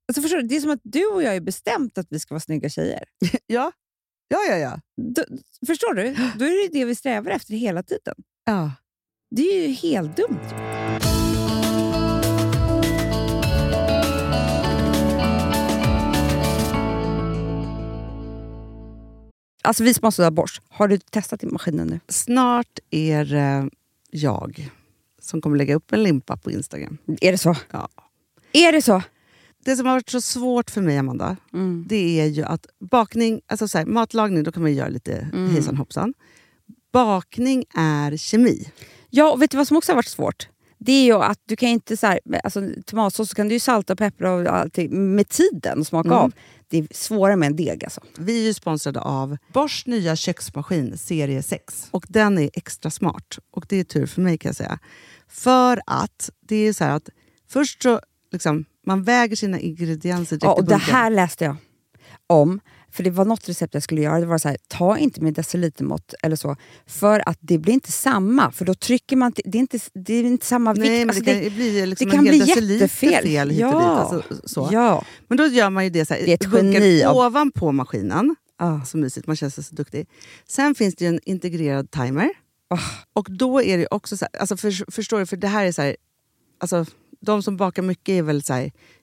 Alltså förstår du? Det är som att du och jag är bestämt att vi ska vara snygga tjejer.
Ja, ja, ja. ja.
Då, förstår du? Då är det det vi strävar efter hela tiden.
ja.
Det är ju helt dumt. Alltså vi som har sådär borst, har du testat i maskinen nu?
Snart är det jag som kommer lägga upp en limpa på Instagram.
Är det så?
Ja.
Är det så?
Det som har varit så svårt för mig, Amanda, det är ju att bakning... Alltså så här, matlagning, då kan man ju göra lite hejsan hoppsan. Bakning är kemi.
Ja, och vet du vad som också har varit svårt? Det är ju att du kan inte så här, alltså, tomatsås så kan du ju salta och peppra och allting med tiden och smaka av. Det är svårare med en deg alltså.
Vi är ju sponsrade av Bors nya köksmaskin serie 6. Och den är extra smart. Och det är tur för mig kan jag säga. För att det är så här att först så liksom, man väger sina ingredienser direkt
Ja,
i
och det
bunken.
här läste jag om. För det var något recept jag skulle göra. Det var så här, ta inte med decilitermått eller så. För att det blir inte samma. För då trycker man... till- Det är inte, det är inte samma vikt.
Nej, men
Alltså,
det kan ju bli liksom
det kan
en hel
bli
deciliter
jättefel.
fel hit och
Ja.
dit. Alltså, så.
Ja.
Men då gör man ju det så här,
Det är ett
bunkar
geni av-
ovanpå maskinen.
Ah.
Så mysigt, man känns så duktig. Sen finns det ju en integrerad timer.
Ah.
Och då är det ju också så här, alltså för, förstår du, för det här är så här, alltså de som bakar mycket är väl så här,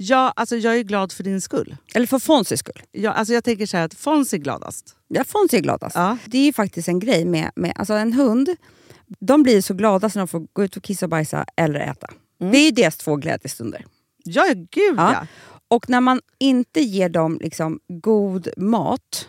Ja, alltså jag är glad för din skull.
Eller för Fonzys skull.
Jag, alltså jag tänker så här att Fons är gladast.
Ja, Fonzie är gladast.
Ja.
alltså. Det är ju faktiskt en grej med, med alltså en hund. De blir så glada när de får gå ut och kissa och bajsa eller äta. Det är ju deras två glädjestunder.
Ja, gud
Ja.
Mm. ja.
Och när man inte ger dem liksom god mat,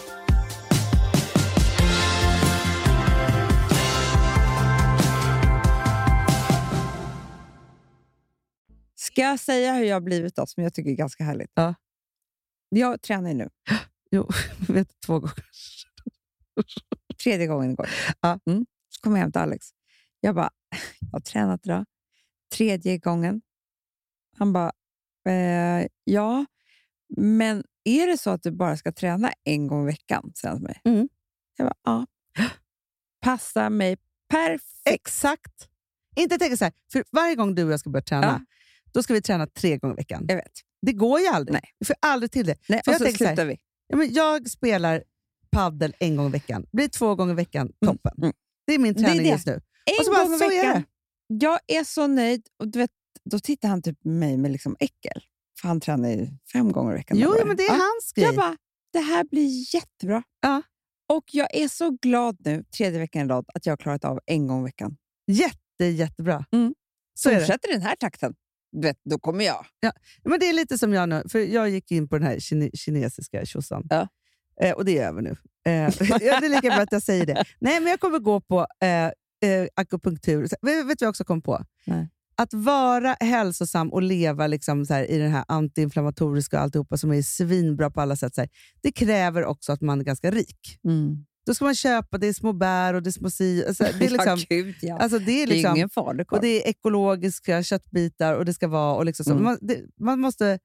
Ska jag säga hur jag har blivit då, som jag tycker är ganska härligt? Ja. Jag tränar ju nu.
Jag vet två gånger.
Tredje gången igår.
Ja.
Mm. Så kom jag hem till Alex. Jag bara, jag har tränat idag. Tredje gången. Han bara, eh, ja, men är det så att du bara ska träna en gång i veckan? Säger han till mig.
Mm.
Jag bara, ja. Passar mig perfekt.
Exakt. Inte tänka så här, för varje gång du och jag ska börja träna,
Ja.
då ska vi träna tre gånger i veckan.
Jag vet.
Det går ju aldrig.
Nej.
Vi får aldrig till det.
Nej,
Eh, För
och
jag
så
tänker så här-
slutar vi.
Ja, men jag spelar paddel en gång i veckan. Blir två gånger i veckan, toppen.
mm.
Det är min
Det är
träning
det.
just nu.
En
Och så bara,
gång i
så är
veckan. Jag är så nöjd. Och du vet, då tittar han typ på mig med liksom äckel. För han tränar ju fem gånger i veckan.
Jo,
eller vad
jo, men det är
Ja.
hans grej.
Jag bara, det här blir jättebra.
Ja.
Och jag är så glad nu, tredje veckan i rad, att jag har klarat av en gång i veckan.
Jätte, jättebra.
Mm.
Så är det.
Fortsätter den här takten, du vet, då kommer jag.
Men det är lite som jag nu, för jag gick in på den här kine, kinesiska tjosan.
Ja.
Eh, och det är över nu. Eh, ja, det är lika bra att jag säger det. Nej, men jag kommer gå på eh, eh, akupunktur. Så- Vet vet du vad jag också kom på?
Nej.
Att vara hälsosam och leva liksom så här, i den här antiinflammatoriska och alltihopa som är svinbra på alla sätt. Så här, det kräver också att man är ganska rik. Då ska man köpa, det är små bär och det är små si... Alltså, Mm. det är liksom,
ja, gud, ja.
alltså, det är
det är
liksom
ingen falukorv.
och det är ekologiska köttbitar och det ska vara... Och liksom så.
Mm.
Man, det, man måste...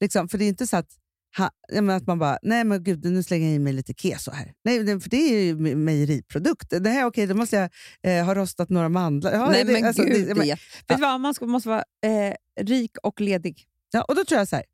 Liksom, för det är inte så att, ha, jag menar att man bara, nej men gud, nu slänger jag i mig lite keso här. Nej, det- för det är ju me- mejeriprodukt. Det här, okej, då måste jag eh, ha rostat några mandlar. Ja,
Nej,
det,
men
alltså, det-
gud.
jag
Det,
menar-
är jätte- Vet du vad, man ska, måste vara eh, rik och ledig.
ja, och då tror jag så här,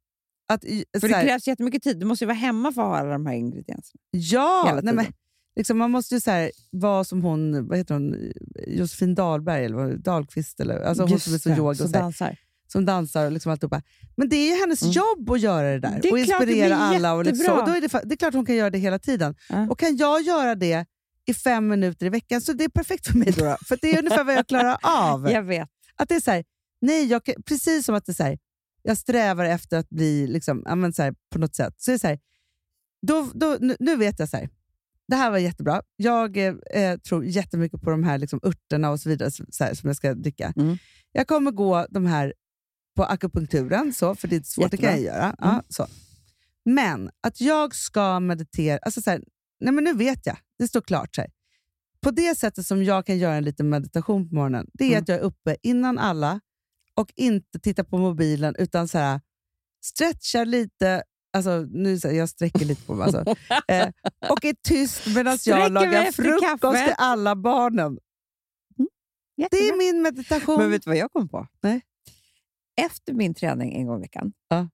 att, i- så
För det
här,
krävs jättemycket tid. Du måste ju vara hemma för att ha alla de här ingredienserna.
Ja,
hela
nej, men,
tiden.
liksom, man måste ju så här, vara som hon, vad heter hon, Josefin Dahlberg, eller vad- Dahlqvist, eller, alltså hon
Just
som är så
det,
yoga och
som
så här.
dansar.
som dansar och liksom alltihopa. Men det är ju hennes
Mm.
jobb att göra det där
Det är
och
klart det
inspirera
blir
alla. Och liksom,
jättebra.
och då är det, fa- det är klart hon kan göra det hela tiden.
Ja.
Och kan jag göra det i fem minuter i veckan så det är perfekt för mig. Då, då. för det är ungefär vad jag klarar av.
Jag vet.
Att det är så här, nej, jag, kan- precis som att det är så här, jag strävar efter att bli liksom, ja, men så här, på något sätt. Så det är så här, då, då, nu, nu vet jag så här. Det här var jättebra. Jag eh, eh, tror jättemycket på de här liksom, örterna och så vidare så så här, som jag ska dricka.
Mm.
Jag kommer gå de här på akupunkturen, så, för det är svårt, det kan jag göra. Ja,
Mm.
så. Men att jag ska meditera, alltså så här, nej men nu vet jag, det står klart. Så här. På det sättet som jag kan göra en liten meditation på morgonen, det är
Mm.
att jag är uppe innan alla och inte tittar på mobilen utan så här, stretchar lite, alltså nu så här, jag sträcker lite på mig alltså, eh, och är tyst medan
Sträcker
jag
mig
lagar
efter
frukost
kaffet.
till alla barnen. Det är min meditation.
Men vet du vad jag kom på?
Nej.
Efter min träning en gång i veckan,
Ja.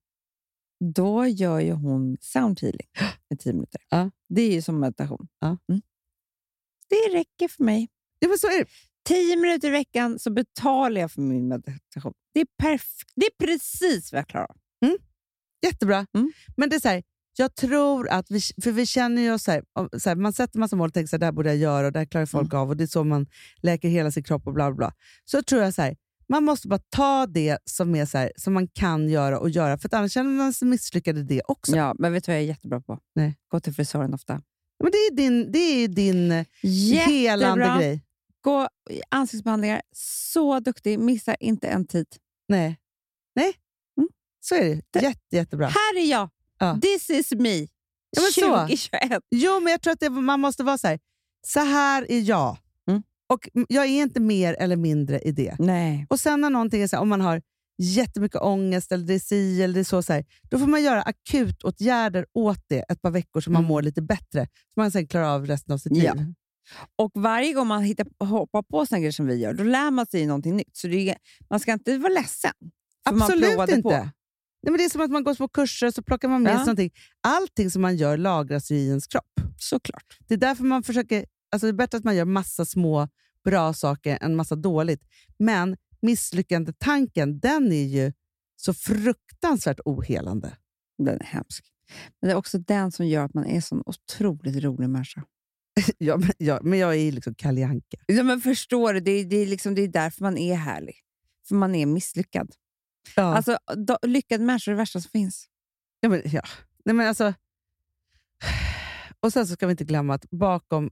då gör ju hon soundhealing i tio minuter.
Ja.
Det är ju som meditation.
Ja.
Mm. Det räcker för mig.
ja, men så är det.
Tio minuter i veckan så betalar jag för min meditation. Det är, perf- det är precis vad jag klarar av.
Jättebra.
Mm.
Men det är så här, jag tror att vi, för vi känner ju oss så här, om- så här, man sätter massa mål och tänker så här, det här borde jag göra och det här
Mm.
klarar folk av och det är så man läker hela sin kropp och bla bla bla. Så tror jag så här, man måste bara ta det som, är så här, som man kan göra och göra, för att annars känner man sig misslyckad i det också.
Ja, men vet du vad jag är jättebra på?
Nej.
Gå till frisören ofta.
Men det är ju din, det är ju din eh, helande grej.
Gå i ansiktsbehandlingar. Så duktig. Missa inte en tid.
Nej. Nej.
Mm.
Så är det.
Det-
Jätte, jättebra.
Här är jag!
Ja.
This is me!
Ja, men så.
2021.
Jo, men jag tror att det, man måste vara så här. Så här är jag.
Mm.
Och m- jag är inte mer eller mindre i det.
Nej.
Och sen när någonting är så här, om man har jättemycket ångest eller det är si eller det är så, så här, då får man göra akutåtgärder åt det ett par veckor så man
Mm.
mår lite bättre. Så man sen klarar av resten av sitt
Ja.
liv.
Och varje gång man hittar, hoppar på såna grejer som vi gör, då lär man sig någonting nytt. Så det är, man ska inte vara ledsen. för man
Absolut
provade
inte.
på.
Nej, men det är som att man går på kurser och så plockar man med
Ja.
sig någonting. Allting som man gör lagras ju i ens kropp.
Såklart.
Det är därför man försöker... Alltså det är bättre att man gör massa små bra saker än massa dåligt. Men misslyckandetanken, den är ju så fruktansvärt ohelande.
Den är hemsk. Men det är också den som gör att man är en sån otroligt rolig människa.
Ja, men, ja, men jag är ju liksom Kalle Anka.
Ja, men förstår du? Det är, det, är liksom, det är därför man är härlig. För man är misslyckad.
Ja.
Alltså, då, lyckad människa är det värsta som finns.
ja, men, ja. Nej, men alltså. Och sen så ska vi inte glömma att bakom,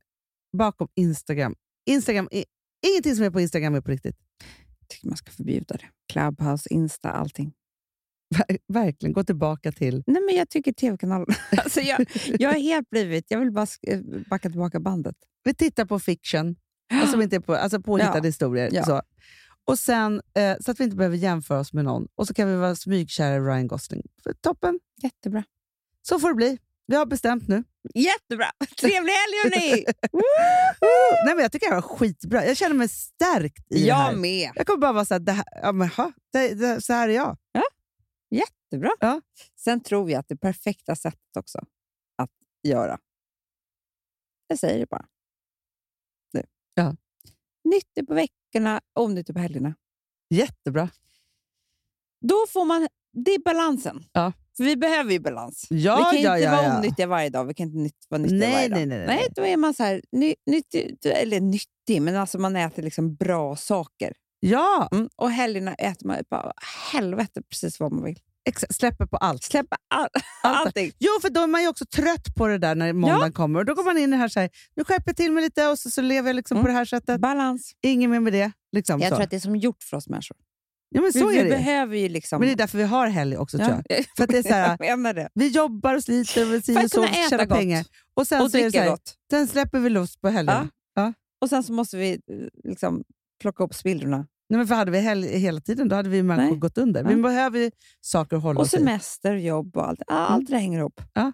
bakom Instagram... Instagram är, ingenting som är på Instagram är på riktigt.
Jag tycker man ska förbjuda det. Clubhouse, Insta, allting.
Ver, eh, verkligen, gå tillbaka till...
Nej, men jag tycker tv-kanalen... Alltså, jag, jag har helt blivit... Jag vill bara sk- backa tillbaka bandet.
Vi tittar på fiction. Och som inte är på, alltså påhittade
Ja.
historier.
Ja.
Så. Och sen, eh, så att vi inte behöver jämföra oss med någon. Och så kan vi vara smygkära i Ryan Gosling. Toppen!
Jättebra.
Så får det bli. Vi har bestämt nu.
Jättebra! Trevlig helg, hörni!
Woo! Nej, men jag tycker det här var skitbra. Jag känner mig stärkt i det här.
jag med.
Jag kommer bara vara så här, det här, ja, men, ha, det, det, så här är jag.
Jättebra.
Ja.
Sen tror jag att det perfekta sättet också att göra... Jag säger det bara. Nu.
Ja.
Nyttig på veckorna, onyttig på helgerna.
Jättebra.
Då får man... Det är balansen.
Ja.
För vi behöver ju balans.
Ja,
vi kan
ja,
inte
ja,
vara
ja.
onyttiga varje dag. Vi kan inte nytt, vara nyttiga varje
Nej,
dag.
nej, nej, nej.
Nej, då är man så här, ny, nyttig, eller nyttig, men alltså man äter liksom bra saker.
Ja,
Mm. Och helgerna äter man bara helvete precis vad man vill.
exa- släpper på allt.
Släppa all, allting.
Jo, för då är man ju också trött på det där när måndagen kommer. Och Då går man in i det här så här, nu skärper jag till mig lite och så, så lever jag liksom
Mm.
på det här sättet.
Balans.
Inget mer med det. Liksom
Jag
så.
tror att det är som gjort för oss människor.
ja, men så
vi,
är
vi
det. ju.
behöver ju liksom...
Men det är därför vi har helg också tror jag.
Ja, jag
För att det är så här,
menar det.
vi jobbar och sliter och si
För
och
att
så
kunna
och
äta
tjäna
gott.
pengar. Och sen,
Och
så är det så
dricka
här,
gott.
sen släpper vi loss på helgerna.
Och sen så måste vi eh, liksom plocka upp spillrorna.
Nej, men för hade vi helg hela tiden då hade vi människor
Nej.
gått under. Vi
Ja.
behöver ju saker att hålla
Och
oss i. Mm.
semester, jobb och allt. Ah, Allt det hänger ihop.
Ja.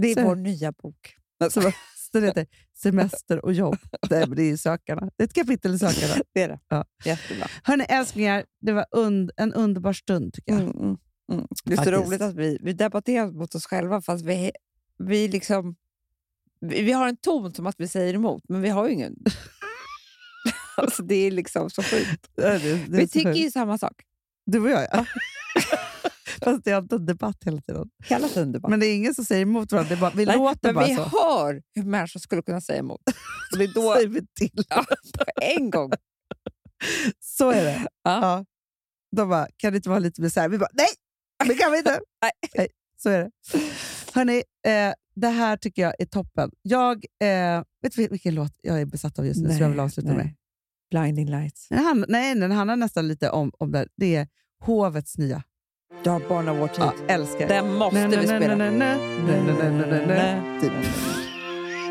Det är
Så-
vår nya bok.
Alltså, Så det heter semester och jobb. Nej, men Det är ju Sökarna. Det är ett kapitel i Sökarna.
Det är det.
Ja.
Jättebra.
Hörni älsklingar, det var und en underbar stund tycker jag.
Mm, mm, mm. Det är så
Faktiskt.
roligt att vi, vi debatterar mot oss själva fast vi, vi liksom... Vi, vi har en ton som att vi säger emot, men vi har ju ingen. alltså, det är liksom så sjukt.
Ja, det- det är
Vi
så
tycker
sjukt.
ju samma sak.
Du och jag, ja. Fast det är alltid en debatt hela tiden.
Hela tiden debatt.
Men det är ingen som säger emot varandra. Det är bara, vi
Nej,
låter
men
bara
vi
så.
hör hur människor skulle kunna säga emot. Och det är då
Säger vi till.
Ja, på en gång.
Så är det.
Ja.
Ja. De bara, kan det inte vara lite mer så här? Vi bara, nej! Det kan vi inte.
Nej.
nej så är det. Hörni, eh, det här tycker jag är toppen. Jag, eh, vet du vil- vilken låt jag är besatt av just nu som jag vill avsluta
nej.
med?
Blinding lights.
Den handlar, nej, den handlar nästan lite om, om det. här. Det är Hovets nya.
Ja, barn av vår tid.
Ja, älskar.
Den måste
Nej, nej,
vi
nej,
spela.
nej, nej, nej, nej, nej, nej, nej, nej. Typ.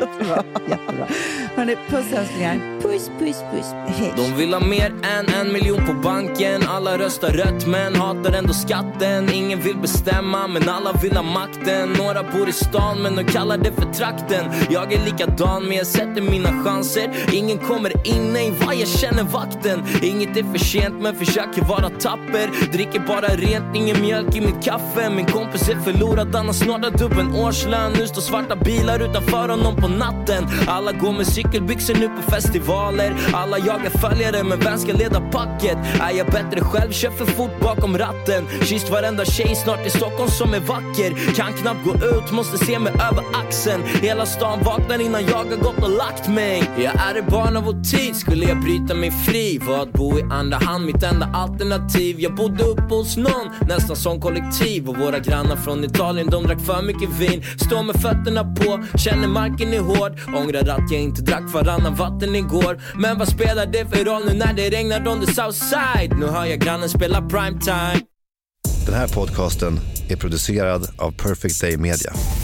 Jättebra. Jättebra.
Hörni, puss älsklingar.
Puss, puss, puss. Hej.
De vill ha mer än en miljon på banken Alla röstar rött men hatar ändå skatten Ingen vill bestämma men alla vill ha makten Några bor i stan men de kallar det för trakten Jag är likadan men jag sätter mina chanser Ingen kommer in, nej vad jag känner vakten Inget är för sent men försöker vara tapper Dricker bara rent, ingen mjölk i mitt kaffe Min kompis är förlorad, han har snorrat upp en årslön Nu står svarta bilar utanför honom på natten Alla går med cykelbyxor nu på festivaler Alla jagar följare, men vem ska leda packet? Är jag bättre själv, kör för fort bakom ratten Kysst varenda tjej, snart är Stockholm som är vacker Kan knappt gå ut, måste se mig över axeln Hela stan vaknar innan jag har gått och lagt mig Jag är ett barn av vår tid, skulle jag bryta mig fri Var att bo i andra hand, mitt enda alternativ Jag bodde uppe hos någon, nästan som kollektiv Och våra grannar från Italien, de drack för mycket vin Står med fötterna på, känner marken är hård Ångrar att jag inte drack varannan vatten igår Men vad spelar det för roll nu när det regnar on the south side? Nu hör jag grannen spela primetime
Den här podcasten är producerad av Perfect Day Media.